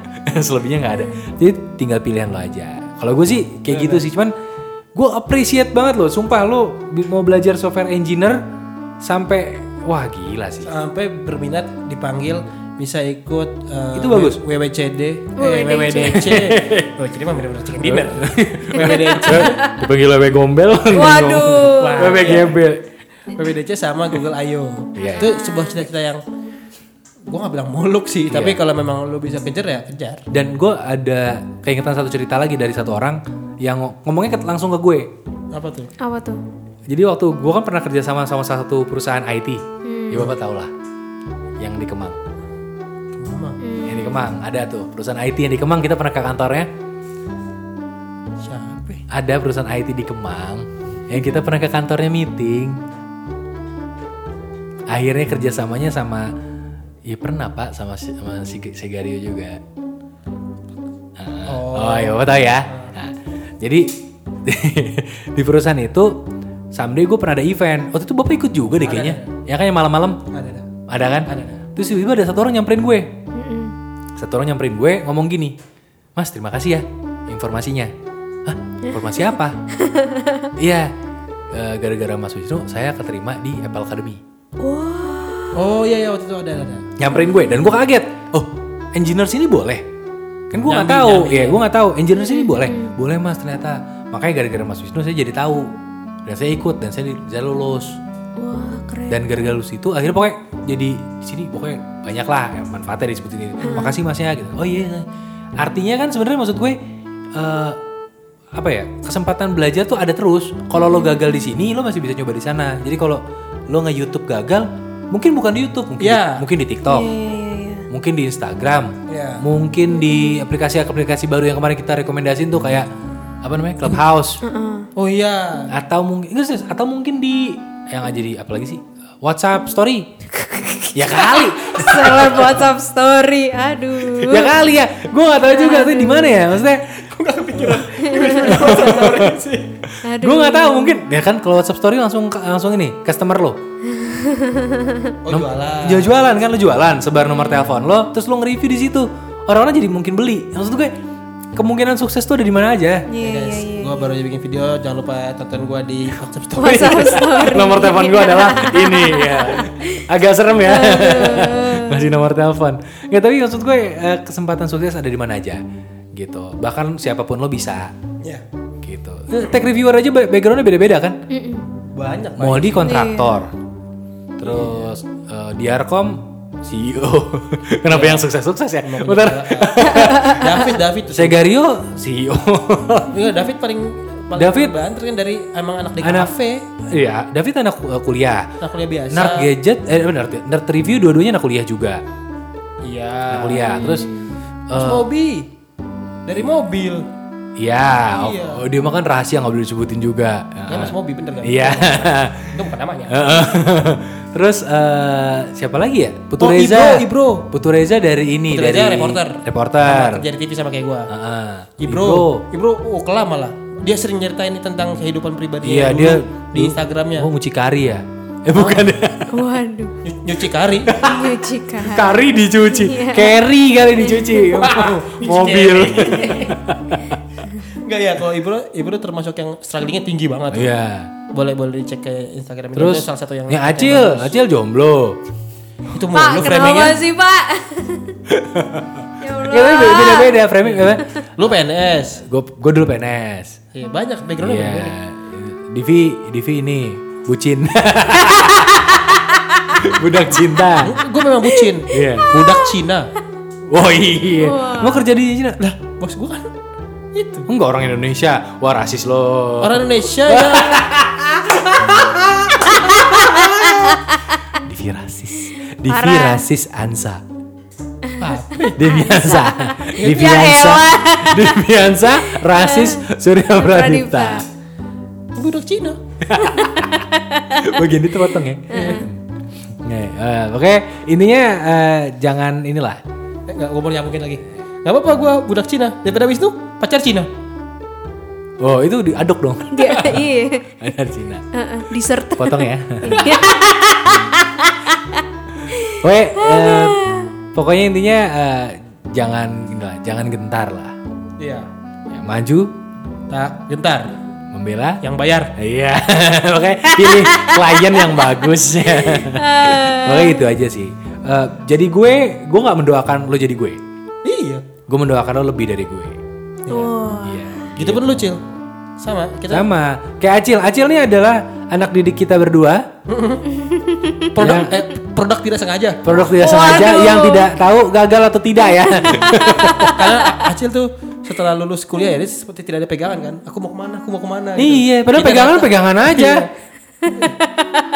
Speaker 1: selebihnya nggak ada jadi tinggal pilihan lo aja kalau gue sih kayak gitu sih cuman gue appreciate banget lo sumpah lo bi- mau belajar software engineer sampai wah gila sih
Speaker 2: Sampai berminat dipanggil bisa ikut eh,
Speaker 1: Itu bagus.
Speaker 2: WWCD eh, WWDC WWDC Oh, mah bener-bener chicken dinner
Speaker 1: WWDC dipanggil WW gombel
Speaker 3: waduh
Speaker 1: WW gembel
Speaker 2: WWDC sama Google I.O.
Speaker 1: Iya.
Speaker 2: Itu sebuah cita-cita yang gue gak bilang muluk sih, tapi
Speaker 1: Iya.
Speaker 2: kalau memang lu bisa kejar ya kejar.
Speaker 1: dan gue ada keingetan satu cerita lagi dari satu orang yang ngo- ngomongnya ke- langsung ke gue
Speaker 2: Apa tuh?
Speaker 3: apa tuh
Speaker 1: jadi waktu gue kan pernah kerja sama sama salah satu perusahaan IT ya bapak tau lah yang di Kemang
Speaker 2: Mama,
Speaker 3: Iya.
Speaker 1: yang di Kemang ada tuh perusahaan IT yang di Kemang kita pernah ke kantornya
Speaker 2: siapa? ya?
Speaker 1: ada perusahaan IT di Kemang yang kita pernah ke kantornya meeting akhirnya kerjasamanya sama ya pernah pak sama si- sama si Segario juga Ah, oh, ya bapak tahu ya Nah, jadi di perusahaan itu someday gue pernah ada event waktu itu bapak ikut juga deh kayaknya ya kan yang malam-malam
Speaker 2: Ada ada.
Speaker 1: ada kan?
Speaker 2: Ada.
Speaker 1: Terus tiba-tiba ada satu orang nyamperin gue. Satu orang nyamperin gue ngomong gini, Mas terima kasih ya informasinya. Hah? Informasi apa? Iya, eh, gara-gara Mas Wisnu saya keterima di Apple Academy.
Speaker 2: Oh iya iya waktu itu ada ada. ada.
Speaker 1: Nyamperin gue dan gue kaget. Oh, engineer sini boleh? Kan gue nggak
Speaker 2: Nyambi,
Speaker 1: tahu.
Speaker 2: nyambi.
Speaker 1: Iya, gue nggak tahu. Engineer sini boleh? Boleh Mas ternyata. Makanya gara-gara Mas Wisnu saya jadi tahu dan saya ikut dan saya, saya lulus.
Speaker 3: wah keren
Speaker 1: dan gara-gara lulus itu akhirnya pokoknya jadi di sini pokoknya banyak lah yang manfaatnya disebutin ini
Speaker 3: Hmm.
Speaker 1: makasih masnya gitu oh iya artinya kan sebenarnya maksud gue eh, apa ya kesempatan belajar tuh ada terus kalau lo gagal di sini lo masih bisa coba di sana jadi kalau lo nge YouTube gagal mungkin bukan di YouTube mungkin
Speaker 2: Iya.
Speaker 1: mungkin di TikTok
Speaker 3: Ya. iya Ya. iya iya
Speaker 1: mungkin di Instagram,
Speaker 2: Iya.
Speaker 1: mungkin di aplikasi-aplikasi baru yang kemarin kita rekomendasiin tuh kayak apa namanya Clubhouse
Speaker 2: Oh iya.
Speaker 1: atau mungkin enggak, serius, atau mungkin di ya yang aja di apa lagi sih WhatsApp Story ya kali
Speaker 3: Seleb WhatsApp story, aduh.
Speaker 1: ya kali ya gue gak tahu juga tuh di mana ya maksudnya
Speaker 3: Aduh.
Speaker 1: gue gak tahu mungkin ya kan kalau WhatsApp Story langsung langsung ini customer lo
Speaker 2: Oh jualan.
Speaker 1: jual jualan kan lo jualan sebar nomor telepon lo terus lo nge-review di situ orang-orang jadi mungkin beli maksud gue kemungkinan sukses tuh ada di mana aja
Speaker 3: Iya,
Speaker 2: ya, Guys,
Speaker 3: iya, iya.
Speaker 2: gua baru aja bikin video, jangan lupa tonton gua di WhatsApp Story.
Speaker 3: WhatsApp story.
Speaker 1: Iya. nomor telepon gue adalah ini ya. agak serem ya masih nomor telepon nggak tapi maksud gue eh, kesempatan sukses ada di mana aja gitu bahkan siapapun lo bisa
Speaker 2: Ya,
Speaker 1: gitu Eh, tech reviewer aja ba- backgroundnya beda-beda kan
Speaker 2: banyak.
Speaker 1: Moldi kontraktor terus eh, Diarkom CEO kenapa yang sukses-sukses ya bentar
Speaker 2: David, David tuh.
Speaker 1: Segario E CEO
Speaker 2: Iya, David paling paling
Speaker 1: David.
Speaker 2: banter kan dari emang anak di
Speaker 1: Anak-
Speaker 2: kafe,
Speaker 1: Iya, David anak eh, kuliah.
Speaker 2: anak kuliah biasa.
Speaker 1: Nerd gadget, eh benar, nerd review dua-duanya anak kuliah juga.
Speaker 2: Iya.
Speaker 1: Anak kuliah. Terus Eh.
Speaker 2: Terus Mobi. Dari mobil.
Speaker 1: Ya,
Speaker 2: Iya.
Speaker 1: oh, oh, dia mah kan rahasia nggak boleh disebutin juga.
Speaker 2: Ya, Mas Mobi bener kan?
Speaker 1: Iya.
Speaker 2: Itu bukan namanya.
Speaker 1: Terus eh, siapa lagi ya? Putu
Speaker 2: Oh,
Speaker 1: Reza.
Speaker 2: Ibro, Ibro.
Speaker 1: Putu Reza dari ini
Speaker 2: Putu
Speaker 1: dari
Speaker 2: Reza reporter.
Speaker 1: Reporter.
Speaker 2: Jadi TV sama kayak gua.
Speaker 1: Heeh.
Speaker 2: Ibro, Ibro, oh kelam malah. Dia sering nyeritain nih tentang kehidupan pribadi
Speaker 1: Iya, dia
Speaker 2: di Instagramnya.
Speaker 1: Oh, mucikari ya? Eh bukan.
Speaker 2: Oh.
Speaker 3: Waduh,
Speaker 2: Nyu- Nyuci kari.
Speaker 3: nyuci kan.
Speaker 1: Kari dicuci.
Speaker 2: Iya.
Speaker 1: Carry kali dicuci. Oh, Mobil.
Speaker 2: Enggak ya, kalau Ibro, Ibro termasuk yang strugglingnya tinggi banget.
Speaker 1: Iya.
Speaker 2: Boleh boleh dicek ke Instagram
Speaker 1: Terus
Speaker 2: itu salah satu yang
Speaker 1: ya Acil, Acil jomblo.
Speaker 2: itu
Speaker 3: Pak,
Speaker 2: mulu
Speaker 3: kenapa
Speaker 2: framingnya.
Speaker 3: sih, Pak? ya
Speaker 1: Ya
Speaker 3: Allah.
Speaker 1: beda-beda framing.
Speaker 2: Lu PNS.
Speaker 1: Gue gue dulu PNS.
Speaker 2: Iya, banyak backgroundnya
Speaker 1: Iya.
Speaker 2: banyak.
Speaker 1: Divi, Divi ini bucin. Budak cinta.
Speaker 2: Gue memang bucin.
Speaker 1: Iya.
Speaker 2: Budak Cina.
Speaker 1: Woi, iya. Lo kerja di Cina? Lah,
Speaker 2: Bos gue kan itu.
Speaker 1: enggak orang Indonesia. Wah, rasis lo.
Speaker 2: Orang Indonesia ya.
Speaker 1: Divi rasis. Divi
Speaker 3: Parah.
Speaker 1: rasis Ansa. Ah.
Speaker 2: Apa?
Speaker 1: Deviansa. Deviansa.
Speaker 3: elah.
Speaker 1: Deviansa rasis Eh. Surya
Speaker 3: Pradipta.
Speaker 1: Pradipta.
Speaker 2: Budak Cina.
Speaker 1: bagian itu potong ya. Nih, eh, oke, ininya eh, jangan inilah.
Speaker 2: Eh, Enggak, gue mau nyambungin lagi. Gak apa-apa gue budak Cina. Daripada Wisnu, pacar Cina.
Speaker 1: Oh, itu diaduk dong.
Speaker 3: Dia iya.
Speaker 1: Ada Cina.
Speaker 3: Heeh, Dessert.
Speaker 1: Potong ya.
Speaker 3: Iya.
Speaker 1: Oke, eh, pokoknya intinya eh, jangan inilah, jangan gentar lah.
Speaker 2: Iya.
Speaker 1: Ya, maju,
Speaker 2: Tak gentar.
Speaker 1: membela.
Speaker 2: Yang bayar.
Speaker 1: Iya, oke. Pilih klien yang bagus. Oke, itu aja sih. Eh, jadi gue, gue nggak mendoakan lo jadi gue.
Speaker 2: Iya.
Speaker 1: Gue mendoakan lo lebih dari gue.
Speaker 3: Wah.
Speaker 1: Iya.
Speaker 2: Gitu pun lu, Cil. Sama. Kita
Speaker 1: Sama. Kayak Acil. Acil nih adalah anak didik kita berdua.
Speaker 2: produk eh, produk tidak sengaja.
Speaker 1: Produk tidak sengaja yang tidak tahu gagal atau tidak ya.
Speaker 2: Karena Acil tuh setelah lulus kuliah ya, dia seperti tidak ada pegangan kan. Aku mau kemana? Aku mau kemana? gitu.
Speaker 1: iya, padahal
Speaker 2: Kita
Speaker 1: pegangan
Speaker 2: datang-
Speaker 1: pegangan aja.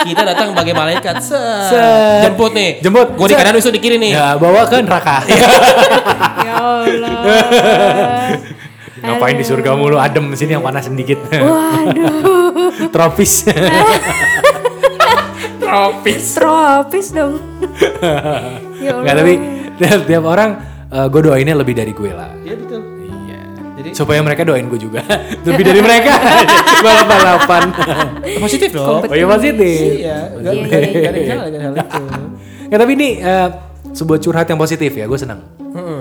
Speaker 2: Kita datang bagai malaikat. Set.
Speaker 1: Set.
Speaker 2: Jemput nih.
Speaker 1: Jemput.
Speaker 2: Gue di
Speaker 1: Set.
Speaker 2: kanan, Wisnu di kiri nih. Iya.
Speaker 1: Ya, bawa ke neraka.
Speaker 3: Ya Allah.
Speaker 1: Ngapain di surga mulu adem sini yang panas sedikit. Tropis.
Speaker 2: Ya
Speaker 1: Tropis.
Speaker 3: Tropis dong. ya Allah.
Speaker 1: Enggak tapi tiap, tiap orang gue doainnya lebih dari gue lah.
Speaker 2: Iya betul.
Speaker 1: Iya.
Speaker 2: Jadi-
Speaker 1: Supaya mereka doain gue juga lebih dari mereka. Balap-balapan.
Speaker 2: Positif dong.
Speaker 1: oh iya positif.
Speaker 2: Iya. Gak gak- gak- gak ada yang salah dengan hal itu.
Speaker 1: Ya tapi ini eh, sebuah curhat yang positif ya, gue senang.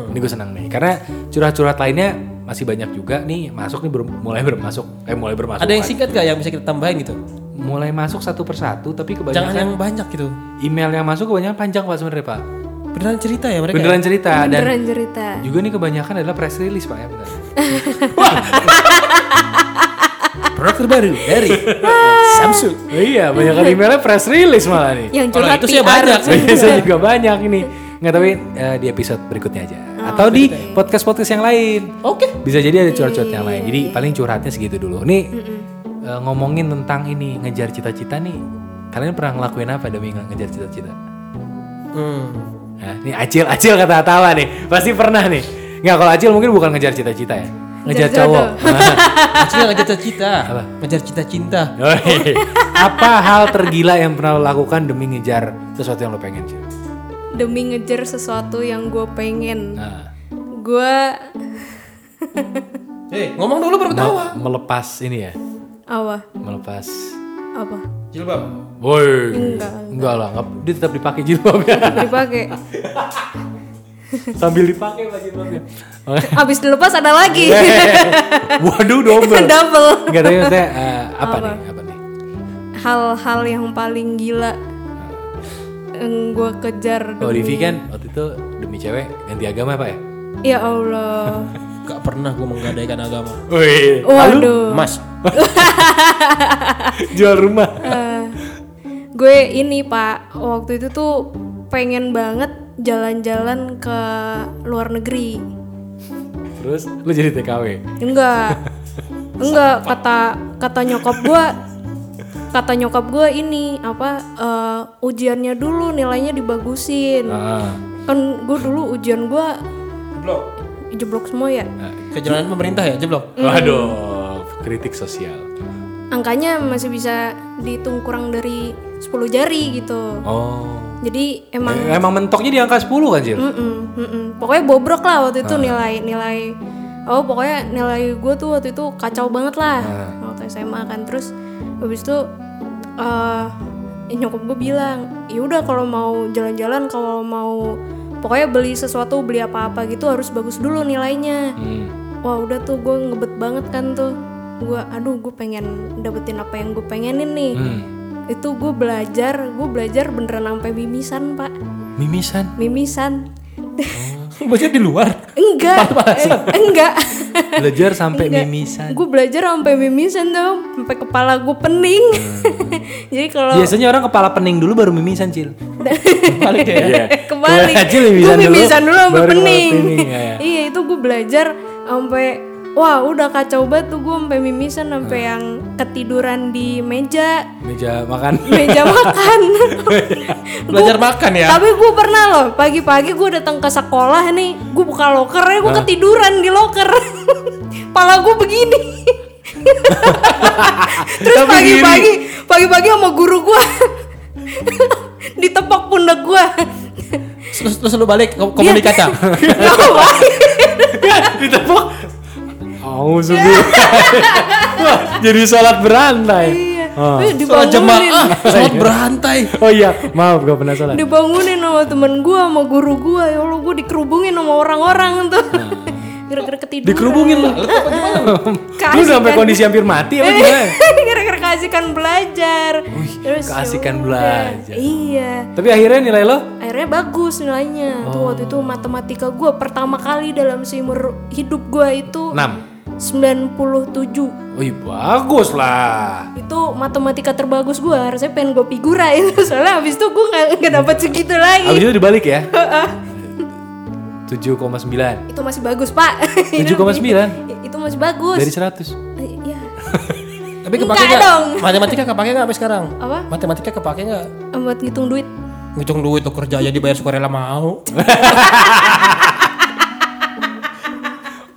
Speaker 1: Ini gue senang nih, karena curhat-curhat lainnya masih banyak juga nih masuk nih ber- mulai bermasuk, eh mulai bermasuk.
Speaker 2: Ada yang singkat gak yang bisa kita tambahin gitu?
Speaker 1: mulai masuk satu persatu, tapi
Speaker 2: Jangan
Speaker 1: kebanyakan
Speaker 2: yang banyak gitu.
Speaker 1: email yang masuk kebanyakan panjang pak sebenarnya pak.
Speaker 2: Beneran cerita ya mereka?
Speaker 1: Beneran cerita dan
Speaker 3: Beneran cerita.
Speaker 1: juga nih kebanyakan adalah press release pak ya benar.
Speaker 2: Produk terbaru dari Samsung.
Speaker 1: Oh iya, banyak emailnya press release malah nih.
Speaker 3: Yang
Speaker 2: Kalau
Speaker 3: curhat
Speaker 2: itu sih
Speaker 3: PR.
Speaker 2: banyak sih.
Speaker 1: Saya juga banyak ini. Nggak tapi eh, di episode berikutnya aja
Speaker 3: Oh,
Speaker 1: atau di podcast-podcast yang lain.
Speaker 2: Oke.
Speaker 1: bisa jadi ada curhat-curhat yang lain.
Speaker 3: Iya.
Speaker 1: Jadi paling curhatnya segitu dulu. Nih eh, ngomongin tentang ini ngejar cita-cita nih. Kalian pernah ngelakuin apa demi ngejar cita-cita?
Speaker 2: Hmm.
Speaker 1: Nah, ini acil acil kata tawa nih pasti pernah nih nggak kalau acil mungkin bukan ngejar cita-cita ya ngejar
Speaker 3: Ngejar
Speaker 1: cowok
Speaker 2: Acil ngejar cita-cita.
Speaker 1: Apa?
Speaker 2: Ngejar cita-cinta.
Speaker 1: Yoi. apa hal tergila yang pernah lo lakukan demi ngejar sesuatu yang lo pengen Cil?
Speaker 3: demi ngejar sesuatu yang gue pengen
Speaker 1: Nah,
Speaker 3: gue
Speaker 2: Hei, Nah. ngomong dulu baru ketawa.
Speaker 1: me- melepas ini ya
Speaker 3: apa
Speaker 1: melepas
Speaker 3: apa
Speaker 2: Jilbab.
Speaker 1: woi
Speaker 3: Enggak,
Speaker 1: enggak lah enggak, dia tetap dipakai jilbabnya
Speaker 3: dipakai
Speaker 1: sambil dipakai lagi jilbabnya
Speaker 3: abis dilepas ada lagi
Speaker 2: Iya,
Speaker 1: waduh double
Speaker 3: double
Speaker 1: enggak tapi maksudnya eh, apa, nih apa nih
Speaker 3: hal-hal yang paling gila yang gue kejar
Speaker 1: kalau
Speaker 3: demi-
Speaker 1: Divi kan waktu itu demi cewek ganti agama apa ya
Speaker 3: ya Allah
Speaker 2: Gak pernah gue menggadaikan agama.
Speaker 1: Wih,
Speaker 3: waduh
Speaker 2: Mas,
Speaker 1: jual rumah
Speaker 3: Eh. gue ini pak waktu itu tuh pengen banget jalan-jalan ke luar negeri
Speaker 1: terus lu jadi TKW
Speaker 3: Hmm. enggak enggak kata kata nyokap gue kata nyokap gue ini apa eh, ujiannya dulu nilainya dibagusin
Speaker 1: ah,
Speaker 3: kan gue dulu ujian gue
Speaker 2: jeblok.
Speaker 3: jeblok semua ya
Speaker 2: Kejalanan pemerintah ya, jeblok.
Speaker 3: Hmm.
Speaker 1: waduh kritik sosial
Speaker 3: angkanya masih bisa dihitung kurang dari 10 jari gitu
Speaker 1: oh
Speaker 3: jadi emang
Speaker 1: Eh, Emang mentoknya di angka 10 kan, Cil?
Speaker 3: Mm-mm, mm-mm. Pokoknya bobrok lah waktu itu nilai-nilai. Oh pokoknya nilai gue tuh waktu itu kacau banget lah waktu SMA kan. Terus habis itu eh nyokap gue bilang, ya udah kalau mau jalan-jalan, kalau mau pokoknya beli sesuatu, beli apa-apa gitu harus bagus dulu nilainya. Wah udah tuh gue ngebet banget kan tuh. Gue aduh gue pengen dapetin apa yang gue pengenin nih.
Speaker 1: Hmm.
Speaker 3: Itu gue belajar, gue belajar beneran sampai mimisan pak,
Speaker 1: Mimisan.
Speaker 3: mimisan.
Speaker 2: Bocah di luar.
Speaker 3: Enggak. Eh, enggak.
Speaker 1: Belajar sampai mimisan.
Speaker 3: gue belajar sampai mimisan tuh, sampai kepala gue pening. Jadi kalau
Speaker 1: Biasanya orang kepala pening dulu baru mimisan, Cil.
Speaker 2: Balik ya.
Speaker 3: kembali,
Speaker 1: Iya, Aja
Speaker 3: gue
Speaker 1: mimisan dulu,
Speaker 3: mimisan dulu sampai
Speaker 1: baru kepala
Speaker 3: pening.
Speaker 1: pening, ya, ya.
Speaker 3: iya itu gue belajar sampai wah udah kacau banget tuh gue sampai mimisan sampai
Speaker 1: Hmm.
Speaker 3: yang ketiduran di meja
Speaker 1: Meja makan.
Speaker 3: meja makan.
Speaker 2: Belajar makan ya.
Speaker 3: Tapi gue pernah loh pagi-pagi gue datang ke sekolah nih, gue buka lokernya gue ketiduran di loker, pala gue begini. Terus
Speaker 1: Tapi gini.
Speaker 3: pagi-pagi, pagi-pagi sama guru gue ditepok pundak gue.
Speaker 2: Terus, terus lu balik
Speaker 3: Iya.
Speaker 2: ke ke beli kaca.
Speaker 1: Iya, Ditepuk. Oh, Jadi salat berantai.
Speaker 3: Iya. Eh,
Speaker 2: Soal
Speaker 3: dibangunin,
Speaker 2: jemaah, Ah, sholat berantai.
Speaker 1: Oh iya, maaf gak pernah salat.
Speaker 3: dibangunin sama temen gue, sama guru gue. Ya Allah gue dikerubungin sama orang-orang tuh. Gara-gara ketiduran.
Speaker 1: Ah. Dikerubungin lu. Eh, Lu
Speaker 3: Keasikan.
Speaker 1: udah sampai kondisi hampir mati apa gimana?
Speaker 3: Gara-gara keasikan belajar. Terus ya
Speaker 1: keasikan
Speaker 3: udah.
Speaker 1: belajar.
Speaker 3: Iya.
Speaker 1: Tapi akhirnya nilai lo
Speaker 3: Akhirnya bagus nilainya.
Speaker 1: Oh.
Speaker 3: Tuh waktu itu matematika gue pertama kali dalam seumur hidup gue itu
Speaker 1: 6.
Speaker 3: 97.
Speaker 1: Wih, bagus lah.
Speaker 3: Itu matematika terbagus gue. Harusnya pengen gue figura itu. Soalnya abis itu gue gak, nggak dapet segitu lagi.
Speaker 1: Abis itu dibalik ya. 7,9
Speaker 3: Itu masih bagus pak. Itu-
Speaker 1: 7,9?
Speaker 3: Itu masih bagus.
Speaker 1: dari 100.
Speaker 3: Iya.
Speaker 2: Tapi kepake
Speaker 3: Enggak
Speaker 2: nggak?
Speaker 3: dong.
Speaker 2: Matematika kepake nggak sampai sekarang?
Speaker 3: Apa?
Speaker 2: Matematika kepake nggak?
Speaker 3: Buat ngitung duit.
Speaker 2: Ngitung duit tuh kerja aja dibayar sukarela mau.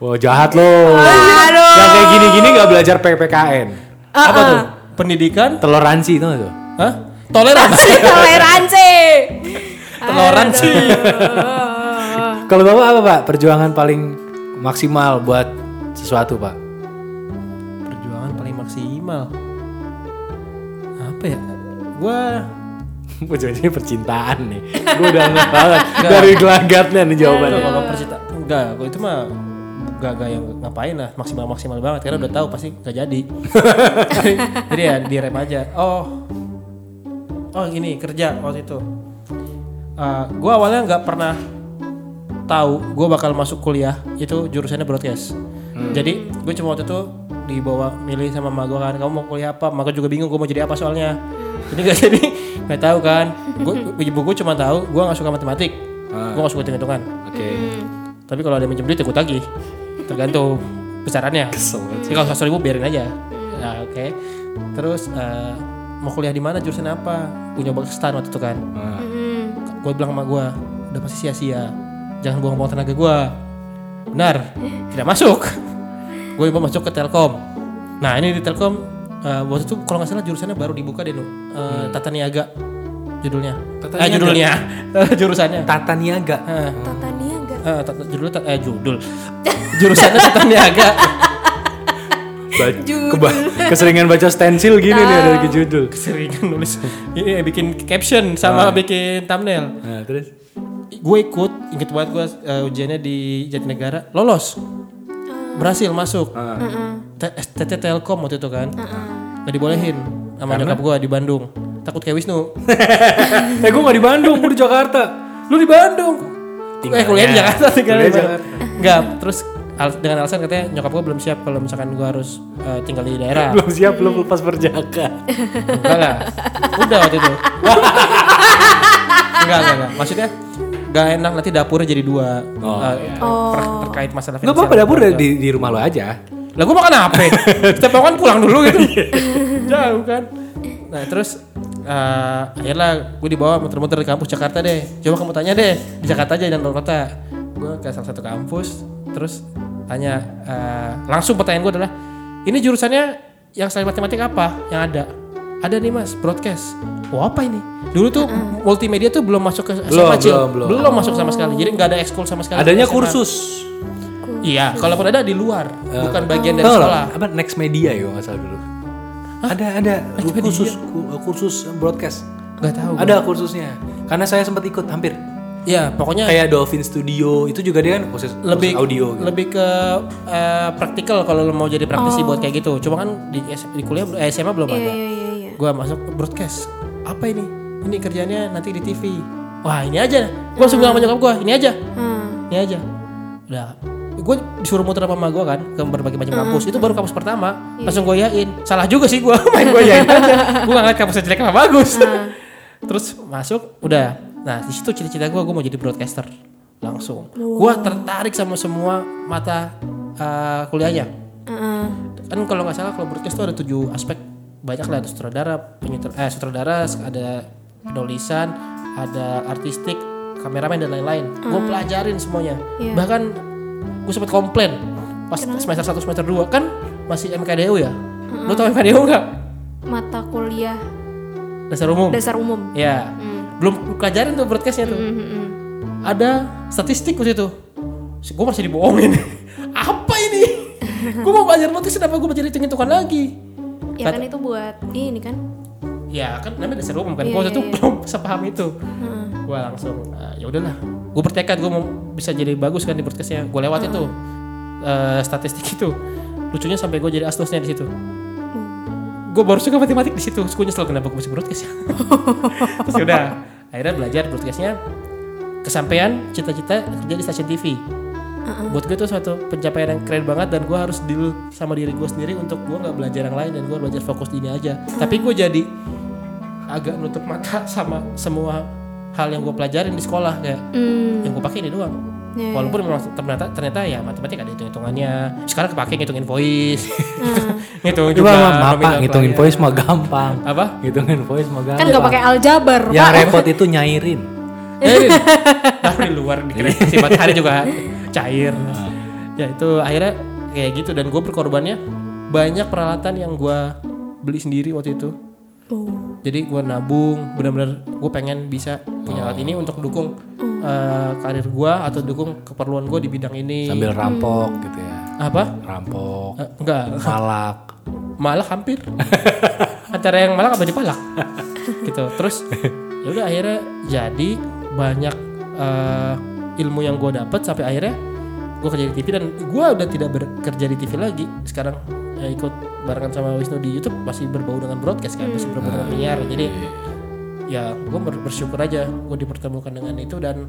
Speaker 1: Wah jahat lo.
Speaker 3: Aduh.
Speaker 1: Yang kayak gini-gini gak belajar PPKN.
Speaker 2: Apa tuh? Pendidikan?
Speaker 1: Toleransi itu tuh.
Speaker 2: Hah? Toleransi.
Speaker 3: Toleransi.
Speaker 2: Toleransi.
Speaker 3: Aduh.
Speaker 1: Kalau bapak apa pak? Perjuangan paling maksimal buat sesuatu pak?
Speaker 2: Perjuangan paling maksimal. Apa ya? Gua
Speaker 1: Ujung-ujungnya percintaan nih. Gue udah ngeh banget dari gelagatnya nih jawabannya.
Speaker 2: Kalau percinta enggak, kalau itu mah gak gak yang ngapain lah maksimal maksimal banget karena udah tahu pasti gak jadi. Jadi ya direm aja. Oh, oh gini kerja waktu itu. Eh, gua awalnya nggak pernah tahu gua bakal masuk kuliah itu jurusannya broadcast. Jadi gue cuma waktu itu dibawa milih sama emak gua kan kamu mau kuliah apa maka juga bingung gue mau jadi apa soalnya jadi gak jadi nggak tahu kan gue ibu gue cuma tahu gua nggak suka matematik gua nggak suka hitung hitungan
Speaker 1: Oke.
Speaker 2: tapi kalau ada yang minjem duit ya gue tagih. Tergantung besarannya.
Speaker 1: Kesel banget
Speaker 2: Jadi kalau 100 ribu biarin aja. Nah, oke. Terus eh, mau kuliah di mana jurusan apa? Gue nyoba ke stan waktu itu kan.
Speaker 1: Hmm.
Speaker 2: Gue bilang sama gue, udah pasti sia-sia. Jangan buang-buang tenaga gue. Benar, tidak masuk. gue coba masuk ke Telkom. Nah ini di Telkom eh, waktu itu kalau nggak salah jurusannya baru dibuka deh, Nu. Eh, Tata Niaga judulnya.
Speaker 1: Iya. Tata
Speaker 2: eh,
Speaker 1: Niaga.
Speaker 2: judulnya, jurusannya.
Speaker 1: Tata Niaga.
Speaker 2: Eh,
Speaker 3: Tata Niaga.
Speaker 2: eh, tata- judul ta- eh judul jurusannya Tata Niaga.
Speaker 1: Ba-
Speaker 3: Judul.
Speaker 1: keba- keseringan baca stensil gini nih ada lagi judul.
Speaker 2: Keseringan nulis ini eh, bikin caption
Speaker 1: Ah.
Speaker 2: sama bikin thumbnail.
Speaker 1: Nah, terus
Speaker 2: gue ikut inget banget gue eh, ujiannya di Jatinegara lolos berhasil masuk
Speaker 1: Ah.
Speaker 2: eh, T- STT Telkom waktu itu kan nggak dibolehin sama nyokap gue di Bandung takut kayak Wisnu
Speaker 1: eh gue gak di Bandung, gue di Jakarta.
Speaker 2: lu di Bandung eh
Speaker 1: Tinggalnya.
Speaker 2: kuliah di Jakarta tinggal
Speaker 1: Kuliah
Speaker 2: di
Speaker 1: di
Speaker 2: Jakarta nggak terus al- dengan alasan katanya nyokap gue belum siap kalau misalkan gue harus eh, tinggal di daerah
Speaker 1: Belum siap, belum lepas berjaka.
Speaker 2: Enggak lah. Udah waktu itu. enggak, enggak, enggak. Maksudnya enggak enak nanti dapurnya jadi dua.
Speaker 1: Oh,
Speaker 2: Eh,
Speaker 1: iya.
Speaker 2: per- terkait masalah
Speaker 1: Gak apa-apa dapur di, di rumah lo aja.
Speaker 2: Lah gua makan apa? Setiap makan pulang dulu gitu.
Speaker 1: Iya.
Speaker 2: Jauh kan. Nah, terus eh, akhirnya gue dibawa muter-muter di kampus Jakarta deh. Coba kamu tanya deh, di Jakarta aja dan luar kota. Gue ke salah satu kampus, terus tanya eh, langsung pertanyaan gue adalah, ini jurusannya yang selain matematik apa yang ada? Ada nih mas, broadcast. Wah apa ini? Dulu tuh multimedia tuh belum masuk ke
Speaker 1: Belum,
Speaker 2: SMA Cil.
Speaker 1: belum, belum.
Speaker 2: masuk sama sekali. Jadi nggak ada ekskul sama sekali.
Speaker 1: Adanya
Speaker 2: SMA.
Speaker 1: kursus. Eh.
Speaker 2: Iya, kalaupun ada di luar, bukan bagian dari
Speaker 1: Tahu nggak,
Speaker 2: sekolah.
Speaker 1: apa next media ya nggak salah dulu. Ada ada kursus ku- eh, kursus broadcast.
Speaker 2: Gak tahu.
Speaker 1: Ada kursusnya. Karena saya sempat ikut hampir.
Speaker 2: Ya, pokoknya
Speaker 1: Kayak Dolphin Studio itu juga dia kan kursus, kursus
Speaker 2: lebih
Speaker 1: audio. gitu.
Speaker 2: lebih ke eh, praktikal kalau lo mau jadi praktisi buat kayak gitu. Cuma kan di, S- di kuliah eh, SMA belum ada.
Speaker 3: Oh. Iya, iya, iya.
Speaker 2: Gua masuk broadcast. Apa ini? Ini kerjanya nanti di TV. Wah, ini aja. Gua langsung bilang sama nyokap gua, ini aja. Ini aja. Udah gue disuruh muter sama mama gue kan ke berbagai macam kampus itu baru kampus pertama langsung gue yain salah juga sih gue main gue yain aja gue ngeliat kampusnya jelek apa bagus terus masuk udah nah di situ cita-cita gue gue mau jadi broadcaster langsung gue tertarik sama semua mata eh, kuliahnya
Speaker 3: Heeh.
Speaker 2: kan kalau nggak salah kalau broadcast itu ada tujuh aspek banyak lah ada sutradara penyutra- eh, sutradara ada penulisan ada artistik kameramen dan lain-lain gue pelajarin semuanya
Speaker 3: Iya.
Speaker 2: bahkan gue sempat komplain pas semester 1 semester 2 kan masih MKDU ya lo tau MKDU nggak
Speaker 3: Mata kuliah
Speaker 2: dasar umum
Speaker 3: dasar umum.
Speaker 2: ya belum pelajarin tuh broadcastnya tuh ada statistik waktu itu gue masih dibohongin apa ini gue mau belajar broadcast kenapa gue jadi hitung-hitungan lagi
Speaker 3: Ya kan itu buat ini kan.
Speaker 2: ya kan namanya dasar umum kan
Speaker 3: Iya,
Speaker 2: gue waktu
Speaker 3: iya,
Speaker 2: itu
Speaker 3: iya. Hmm.
Speaker 2: belum sepaham itu gue langsung "Ah, ya udahlah gue bertekad gue mau bisa jadi bagus kan di broadcastnya gue lewat
Speaker 3: Hmm.
Speaker 2: itu eh, statistik itu lucunya sampai gue jadi asdosnya di situ
Speaker 3: Hmm.
Speaker 2: gue baru suka matematik di situ Terus gue nyesel kenapa gue masih broadcast ya terus ya udah akhirnya belajar broadcastnya kesampaian cita-cita kerja di stasiun TV buat gue itu suatu pencapaian yang keren banget dan gue harus deal sama diri gue sendiri untuk gue nggak belajar yang lain dan gue belajar fokus di ini aja tapi gue jadi agak nutup mata sama semua hal yang gue pelajarin di sekolah kayak
Speaker 3: Hmm.
Speaker 2: yang gue pakai ini doang
Speaker 3: Ya, ya.
Speaker 2: Walaupun memang ternyata ternyata ya matematik ada hitung-hitungannya. Sekarang kepake ngitungin voice.
Speaker 1: Coba
Speaker 2: ngitung juga
Speaker 1: mah bapak
Speaker 2: nominal
Speaker 1: ngitungin
Speaker 2: klien.
Speaker 1: voice mah gampang.
Speaker 2: ya? Apa?
Speaker 1: Ngitungin Gitu voice mah gampang.
Speaker 3: Kan nggak pakai aljabar,
Speaker 1: Yang
Speaker 3: Pak.
Speaker 1: repot itu nyairin.
Speaker 2: Eh, taruh di luar di kereta sih matahari juga cair. Ya itu akhirnya kayak gitu dan gue berkorbannya banyak peralatan yang gue beli sendiri waktu itu.
Speaker 3: Oh.
Speaker 2: Jadi gue nabung benar-benar gue pengen bisa punya alat ini untuk dukung eh, karir gue atau dukung keperluan gue di bidang ini.
Speaker 1: Sambil rampok gitu ya.
Speaker 2: apa?
Speaker 1: Rampok,
Speaker 2: Eh, enggak.
Speaker 1: malak.
Speaker 2: malah hampir antara yang malah apa dipalak gitu terus ya udah akhirnya jadi banyak eh, ilmu yang gue dapat sampai akhirnya gue kerja di TV dan gue udah tidak bekerja di TV lagi sekarang eh, ikut barengan sama Wisnu di YouTube masih berbau dengan broadcast kan masih berbau dengan penyiar jadi ya gue bersyukur aja gue dipertemukan dengan itu dan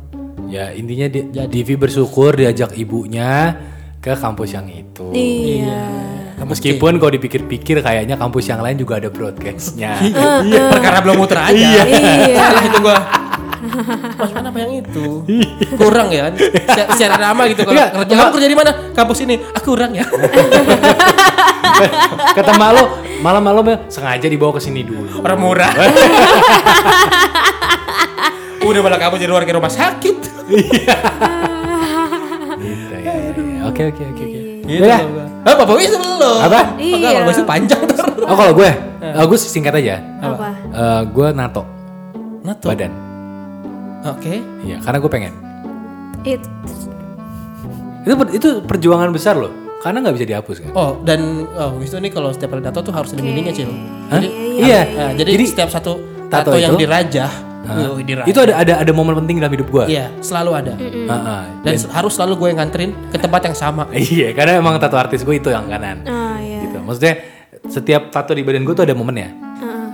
Speaker 1: Ya intinya di, Divi bersyukur diajak ibunya ke kampus yang itu.
Speaker 3: Iya.
Speaker 1: Meskipun kalau dipikir-pikir kayaknya kampus yang lain juga ada broadcastnya.
Speaker 2: iya perkara belum muter aja
Speaker 3: Iya.
Speaker 2: salah itu gue Mas mana apa yang itu? Kurang ya kan? Se- Secara nama gitu kalau
Speaker 1: Iya. Enggak,
Speaker 2: kerja kamu kerja di mana? Kampus ini. Ah kurang ya.
Speaker 1: Kata Malo, malam-malam ya, sengaja dibawa ke sini dulu.
Speaker 2: Orang murah. Udah malah kamu jadi warga rumah sakit.
Speaker 1: Gitu ya. Oke oke oke oke.
Speaker 2: Gitu
Speaker 1: Yaudah.
Speaker 2: loh gua. Ah, Bapak Wis belum.
Speaker 1: Iya. Apa?
Speaker 2: Enggak,
Speaker 3: Iya.
Speaker 2: kalau Bapak Wis panjang terus.
Speaker 1: Oh kalau gue, eh, gue singkat aja.
Speaker 3: Apa?
Speaker 1: Eh, gue NATO
Speaker 2: Nato. Oke.
Speaker 1: badan. Iya, karena gue pengen.
Speaker 3: It.
Speaker 1: Itu per- itu perjuangan besar loh, karena nggak bisa dihapus kan.
Speaker 2: Oh, dan oh, Wisnu ini kalau setiap ada tato tuh harus ada meaningnya, Cil.
Speaker 1: Hah?
Speaker 2: Jadi,
Speaker 1: Iya.
Speaker 2: nah, jadi,
Speaker 1: Jadi,
Speaker 2: setiap satu
Speaker 1: tato
Speaker 2: tato, yang
Speaker 1: itu-
Speaker 2: dirajah, Wih,
Speaker 1: Iya.
Speaker 2: dirajah.
Speaker 1: Itu ada ada ada momen penting dalam hidup Ah, gue.
Speaker 2: Iya, selalu ada.
Speaker 1: Mm.
Speaker 2: Dan se- harus selalu gue yang nganterin ke tempat yang sama.
Speaker 1: Iya, karena emang tato artis gue itu yang kanan.
Speaker 3: Ah ya.
Speaker 1: Gitu. Maksudnya setiap tato di badan gue tuh ada momennya,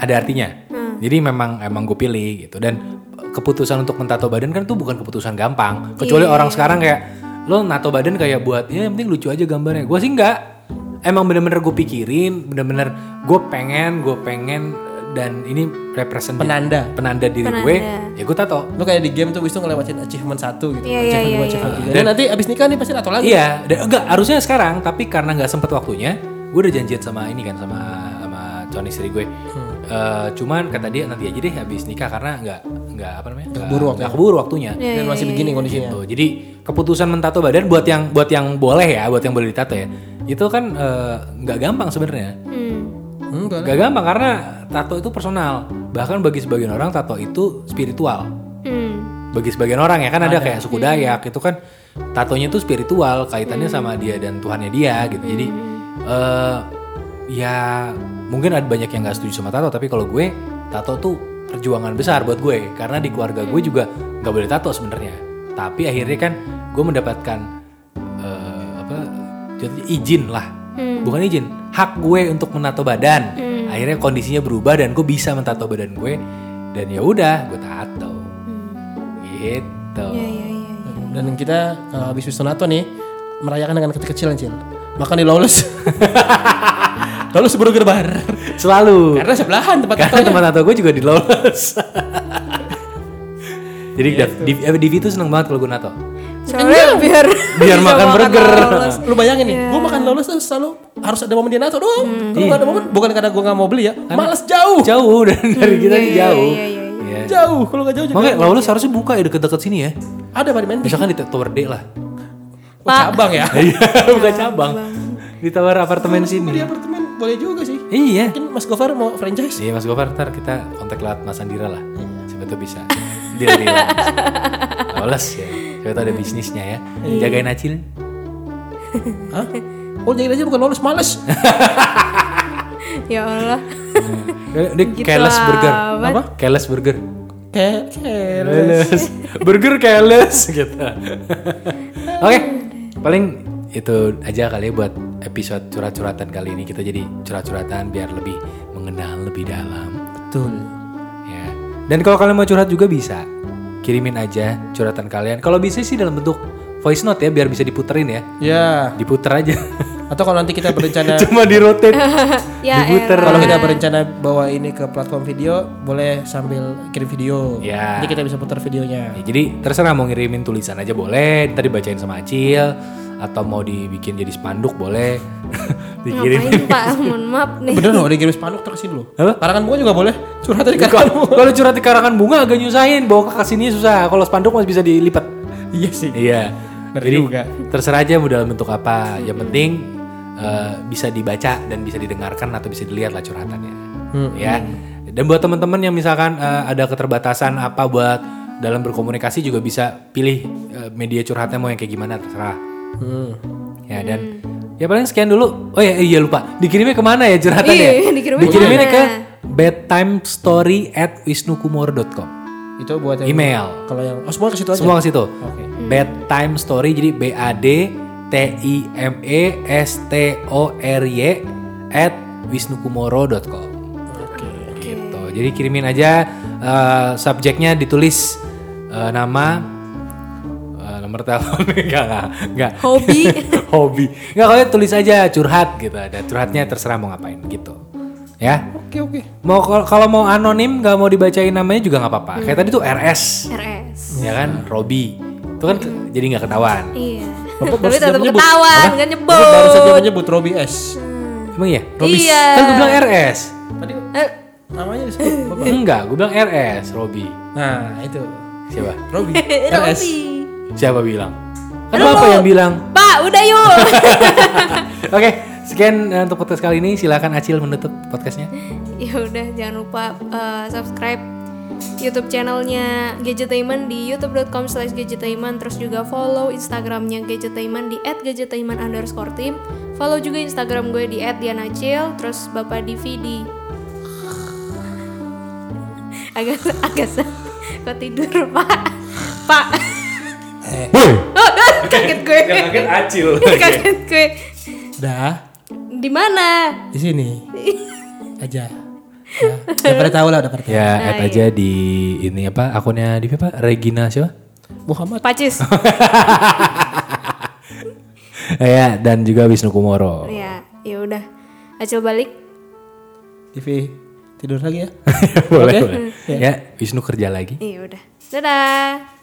Speaker 1: ada artinya. Jadi memang emang gue pilih gitu. Dan keputusan untuk mentato badan kan itu bukan keputusan gampang. Kecuali orang sekarang kayak lo nato badan kayak buat ya yang penting lucu aja gambarnya. Gue sih enggak. Emang bener-bener gue pikirin, bener-bener gue pengen, gue pengen dan ini represent
Speaker 2: Penanda.
Speaker 1: penanda diri gue. Ya gue tato.
Speaker 2: Lu kayak di game tuh Wisnu ngelewatin achievement satu gitu.
Speaker 3: Iya, iya,
Speaker 2: achievement
Speaker 3: iya,
Speaker 2: dua,
Speaker 3: iya.
Speaker 2: achievement tiga. Dan nanti abis nikah nih pasti tato lagi.
Speaker 1: Iya, dan enggak harusnya sekarang, tapi karena nggak sempet waktunya, gue udah janjian sama ini kan sama sama calon istri gue.
Speaker 2: Hmm.
Speaker 1: Eh, cuman kata dia nanti aja deh habis nikah karena nggak nggak apa namanya nggak
Speaker 2: keburu waktunya. Iya.
Speaker 1: nggak keburu waktunya.
Speaker 3: Iya,
Speaker 2: Dan masih begini kondisinya.
Speaker 1: Gitu. Jadi keputusan mentato badan buat yang buat yang boleh ya, buat yang boleh ditato ya, itu kan eh, nggak gampang sebenarnya.
Speaker 3: Hmm.
Speaker 2: Enggak lah.
Speaker 1: Nggak gampang karena tato itu personal. Bahkan bagi sebagian orang tato itu spiritual
Speaker 3: Hmm.
Speaker 1: bagi sebagian orang ya kan ada, kayak suku Dayak itu kan tatonya tuh spiritual kaitannya sama dia dan Tuhannya dia gitu jadi eh, ya mungkin ada banyak yang nggak setuju sama tato tapi kalau gue tato tuh perjuangan besar buat gue karena di keluarga gue juga nggak boleh tato sebenarnya tapi akhirnya kan gue mendapatkan eh, apa jatuhnya izin lah bukan izin hak gue untuk menato badan akhirnya kondisinya berubah dan gue bisa mentato badan gue dan ya udah gue tato Gitu.
Speaker 3: Ya ya ya.
Speaker 2: Dan kita kalau habis Wisnu nato nih merayakan dengan kecil-kecilan, Cil. Makan di Lawless. Lawless burger bar.
Speaker 1: Selalu.
Speaker 2: Karena sebelahan tempat
Speaker 1: Karena
Speaker 2: tato.
Speaker 1: teman tato gue juga di Lawless. Jadi Dav- Div, eh, Divi tuh seneng banget kalau gue nato.
Speaker 3: Soalnya biar
Speaker 1: Biar
Speaker 3: bisa
Speaker 1: makan burger.
Speaker 3: lolos.
Speaker 2: lu bayangin
Speaker 3: Iya.
Speaker 2: nih, gue makan lolos tuh selalu harus ada momen dia nato doang.
Speaker 3: Hmm.
Speaker 2: Kalau nggak ada
Speaker 1: Iya.
Speaker 2: momen, bukan karena gue nggak mau beli ya, malas jauh,
Speaker 1: Jauh dan dari kita nih jauh.
Speaker 3: iya, iya,
Speaker 1: Iya.
Speaker 2: jauh. Kalau nggak jauh juga
Speaker 1: Makanya Lawless harusnya buka ya deket-deket sini ya.
Speaker 2: ada pada main
Speaker 1: Misalkan di Tower D lah.
Speaker 2: Oh, cabang ya.
Speaker 1: Iya, buka cabang. Di tower apartemen
Speaker 2: Di
Speaker 1: sini.
Speaker 2: apartemen boleh juga sih.
Speaker 1: Iya.
Speaker 2: Mungkin Mas Gofar mau franchise.
Speaker 1: Iya Mas Gofar ntar kita kontak lewat Mas Andira lah. Siapa tuh bisa. Deal deal. Lawless ya. Siapa tuh ada bisnisnya ya. Jagain acil.
Speaker 2: Hah? Oh jadi aja bukan lolos, males.
Speaker 3: Ya Allah.
Speaker 1: Ini Eh, careless burger. Apa? Careless burger.
Speaker 2: Kayak kayak-
Speaker 1: Careless. burger careless gitu. Oke, paling itu aja kali ya buat episode curhat-curhatan kali ini kita jadi curhat-curhatan biar lebih mengenal lebih dalam
Speaker 2: betul.
Speaker 1: ya. Dan kalau kalian mau curhat juga bisa kirimin aja curhatan kalian. Kalau bisa sih dalam bentuk voice note ya biar bisa diputerin ya.
Speaker 2: Ya.
Speaker 1: Diputer aja.
Speaker 2: Atau kalau nanti kita berencana
Speaker 1: Cuma di rotate.
Speaker 3: Ya
Speaker 1: Diputer.
Speaker 2: kalau kita berencana bawa ini ke platform video, boleh sambil kirim video.
Speaker 1: Ya.
Speaker 2: Jadi kita bisa putar videonya.
Speaker 1: Ya, jadi terserah mau ngirimin tulisan aja boleh, ntar dibacain sama Acil atau mau dibikin jadi spanduk boleh. Dikirim.
Speaker 3: Ngapain Pak? Mohon maaf nih.
Speaker 2: Bener loh, dikirim spanduk terus sini loh.
Speaker 1: Apa?
Speaker 2: Karangan bunga juga boleh. Curhat dari karangan
Speaker 1: Kalau
Speaker 2: bunga.
Speaker 1: kalau curhat di karangan bunga agak nyusahin, bawa ke sini susah. Kalau spanduk masih bisa dilipat.
Speaker 2: Iya sih.
Speaker 1: Iya.
Speaker 2: Bener
Speaker 1: Jadi
Speaker 2: juga.
Speaker 1: terserah aja mau dalam bentuk apa. Yang penting eh, bisa dibaca dan bisa didengarkan atau bisa dilihat lah curhatannya.
Speaker 3: Hmm.
Speaker 1: Ya. Dan buat teman-teman yang misalkan eh, ada keterbatasan apa buat dalam berkomunikasi juga bisa pilih eh, media curhatnya mau yang kayak gimana terserah.
Speaker 2: Hmm.
Speaker 1: Ya dan
Speaker 3: Hmm.
Speaker 1: ya paling sekian dulu. Oh ya iya lupa. Dikirimnya kemana ya curhatannya?
Speaker 3: Iya, dikirimnya
Speaker 1: Dikiriminnya
Speaker 3: kemana?
Speaker 1: ke bedtimestory@wisnukumoro.com.
Speaker 2: Itu buat yang
Speaker 1: Email.
Speaker 2: Kalau yang oh semua ke situ aja.
Speaker 1: Semua ke situ.
Speaker 2: Oke.
Speaker 1: Bedtime story jadi B A D T I M E S T O R Y at wisnukumoro.com.
Speaker 2: Oke.
Speaker 1: Gitu. Jadi kirimin aja eh, subjeknya ditulis eh, nama eh, nomor telepon enggak enggak enggak
Speaker 3: Hobi.
Speaker 1: hobi nggak kalau tulis aja curhat gitu ada curhatnya terserah mau ngapain gitu ya
Speaker 2: Oke oke.
Speaker 1: mau kal- kalau mau anonim nggak mau dibacain namanya juga nggak apa-apa kayak tadi tuh RS
Speaker 3: RS.
Speaker 1: ya kan Robi itu kan ke- jadi nggak ketahuan
Speaker 3: Iya.
Speaker 2: Bapak baru
Speaker 3: Tapi
Speaker 2: saja
Speaker 3: tetap
Speaker 2: menyebut.
Speaker 3: ketahuan, nggak
Speaker 2: Bapak Baru saja
Speaker 3: nyebut.
Speaker 2: menyebut Robi S.
Speaker 1: emang iya Robi
Speaker 3: Iya.
Speaker 1: kan gue bilang Eh, RS
Speaker 2: Tadi
Speaker 3: Eh,
Speaker 2: namanya disebut Bapak.
Speaker 1: enggak gue bilang RS Robi
Speaker 2: Nah, itu.
Speaker 1: siapa
Speaker 2: Robi.
Speaker 3: Robi.
Speaker 2: RS.
Speaker 1: Siapa bilang? Kan apa yang bilang?
Speaker 3: Pak, udah yuk.
Speaker 1: Oke, sekian eh, untuk podcast kali ini. Silakan Acil menutup podcastnya.
Speaker 3: ya udah, jangan lupa eh, subscribe YouTube channelnya Gadgetainment di youtube.com slash gadgetainment Terus juga follow Instagramnya Gadgetainment di at gadgetainment underscore team Follow juga Instagram gue di at dianacil Terus Bapak Divi di Agak, agak Kok tidur Pak? Pak
Speaker 1: Boy.
Speaker 3: Kaget gue
Speaker 1: Acil.
Speaker 3: Kaget gue
Speaker 2: Dah,
Speaker 3: Di mana?
Speaker 2: di sini aja. Ya, udah pada tahu lah, udah pada tahu.
Speaker 1: Ya, add aja di ini apa akunnya di apa? Regina siapa?
Speaker 2: Muhammad.
Speaker 3: Pacis.
Speaker 1: ya, dan juga Wisnu Kumoro.
Speaker 3: ya, ya udah. Acil balik.
Speaker 2: TV tidur lagi ya.
Speaker 1: boleh,
Speaker 2: Oke.
Speaker 1: boleh. Ya, Wisnu kerja lagi.
Speaker 3: Ya udah. Eh, Dadah.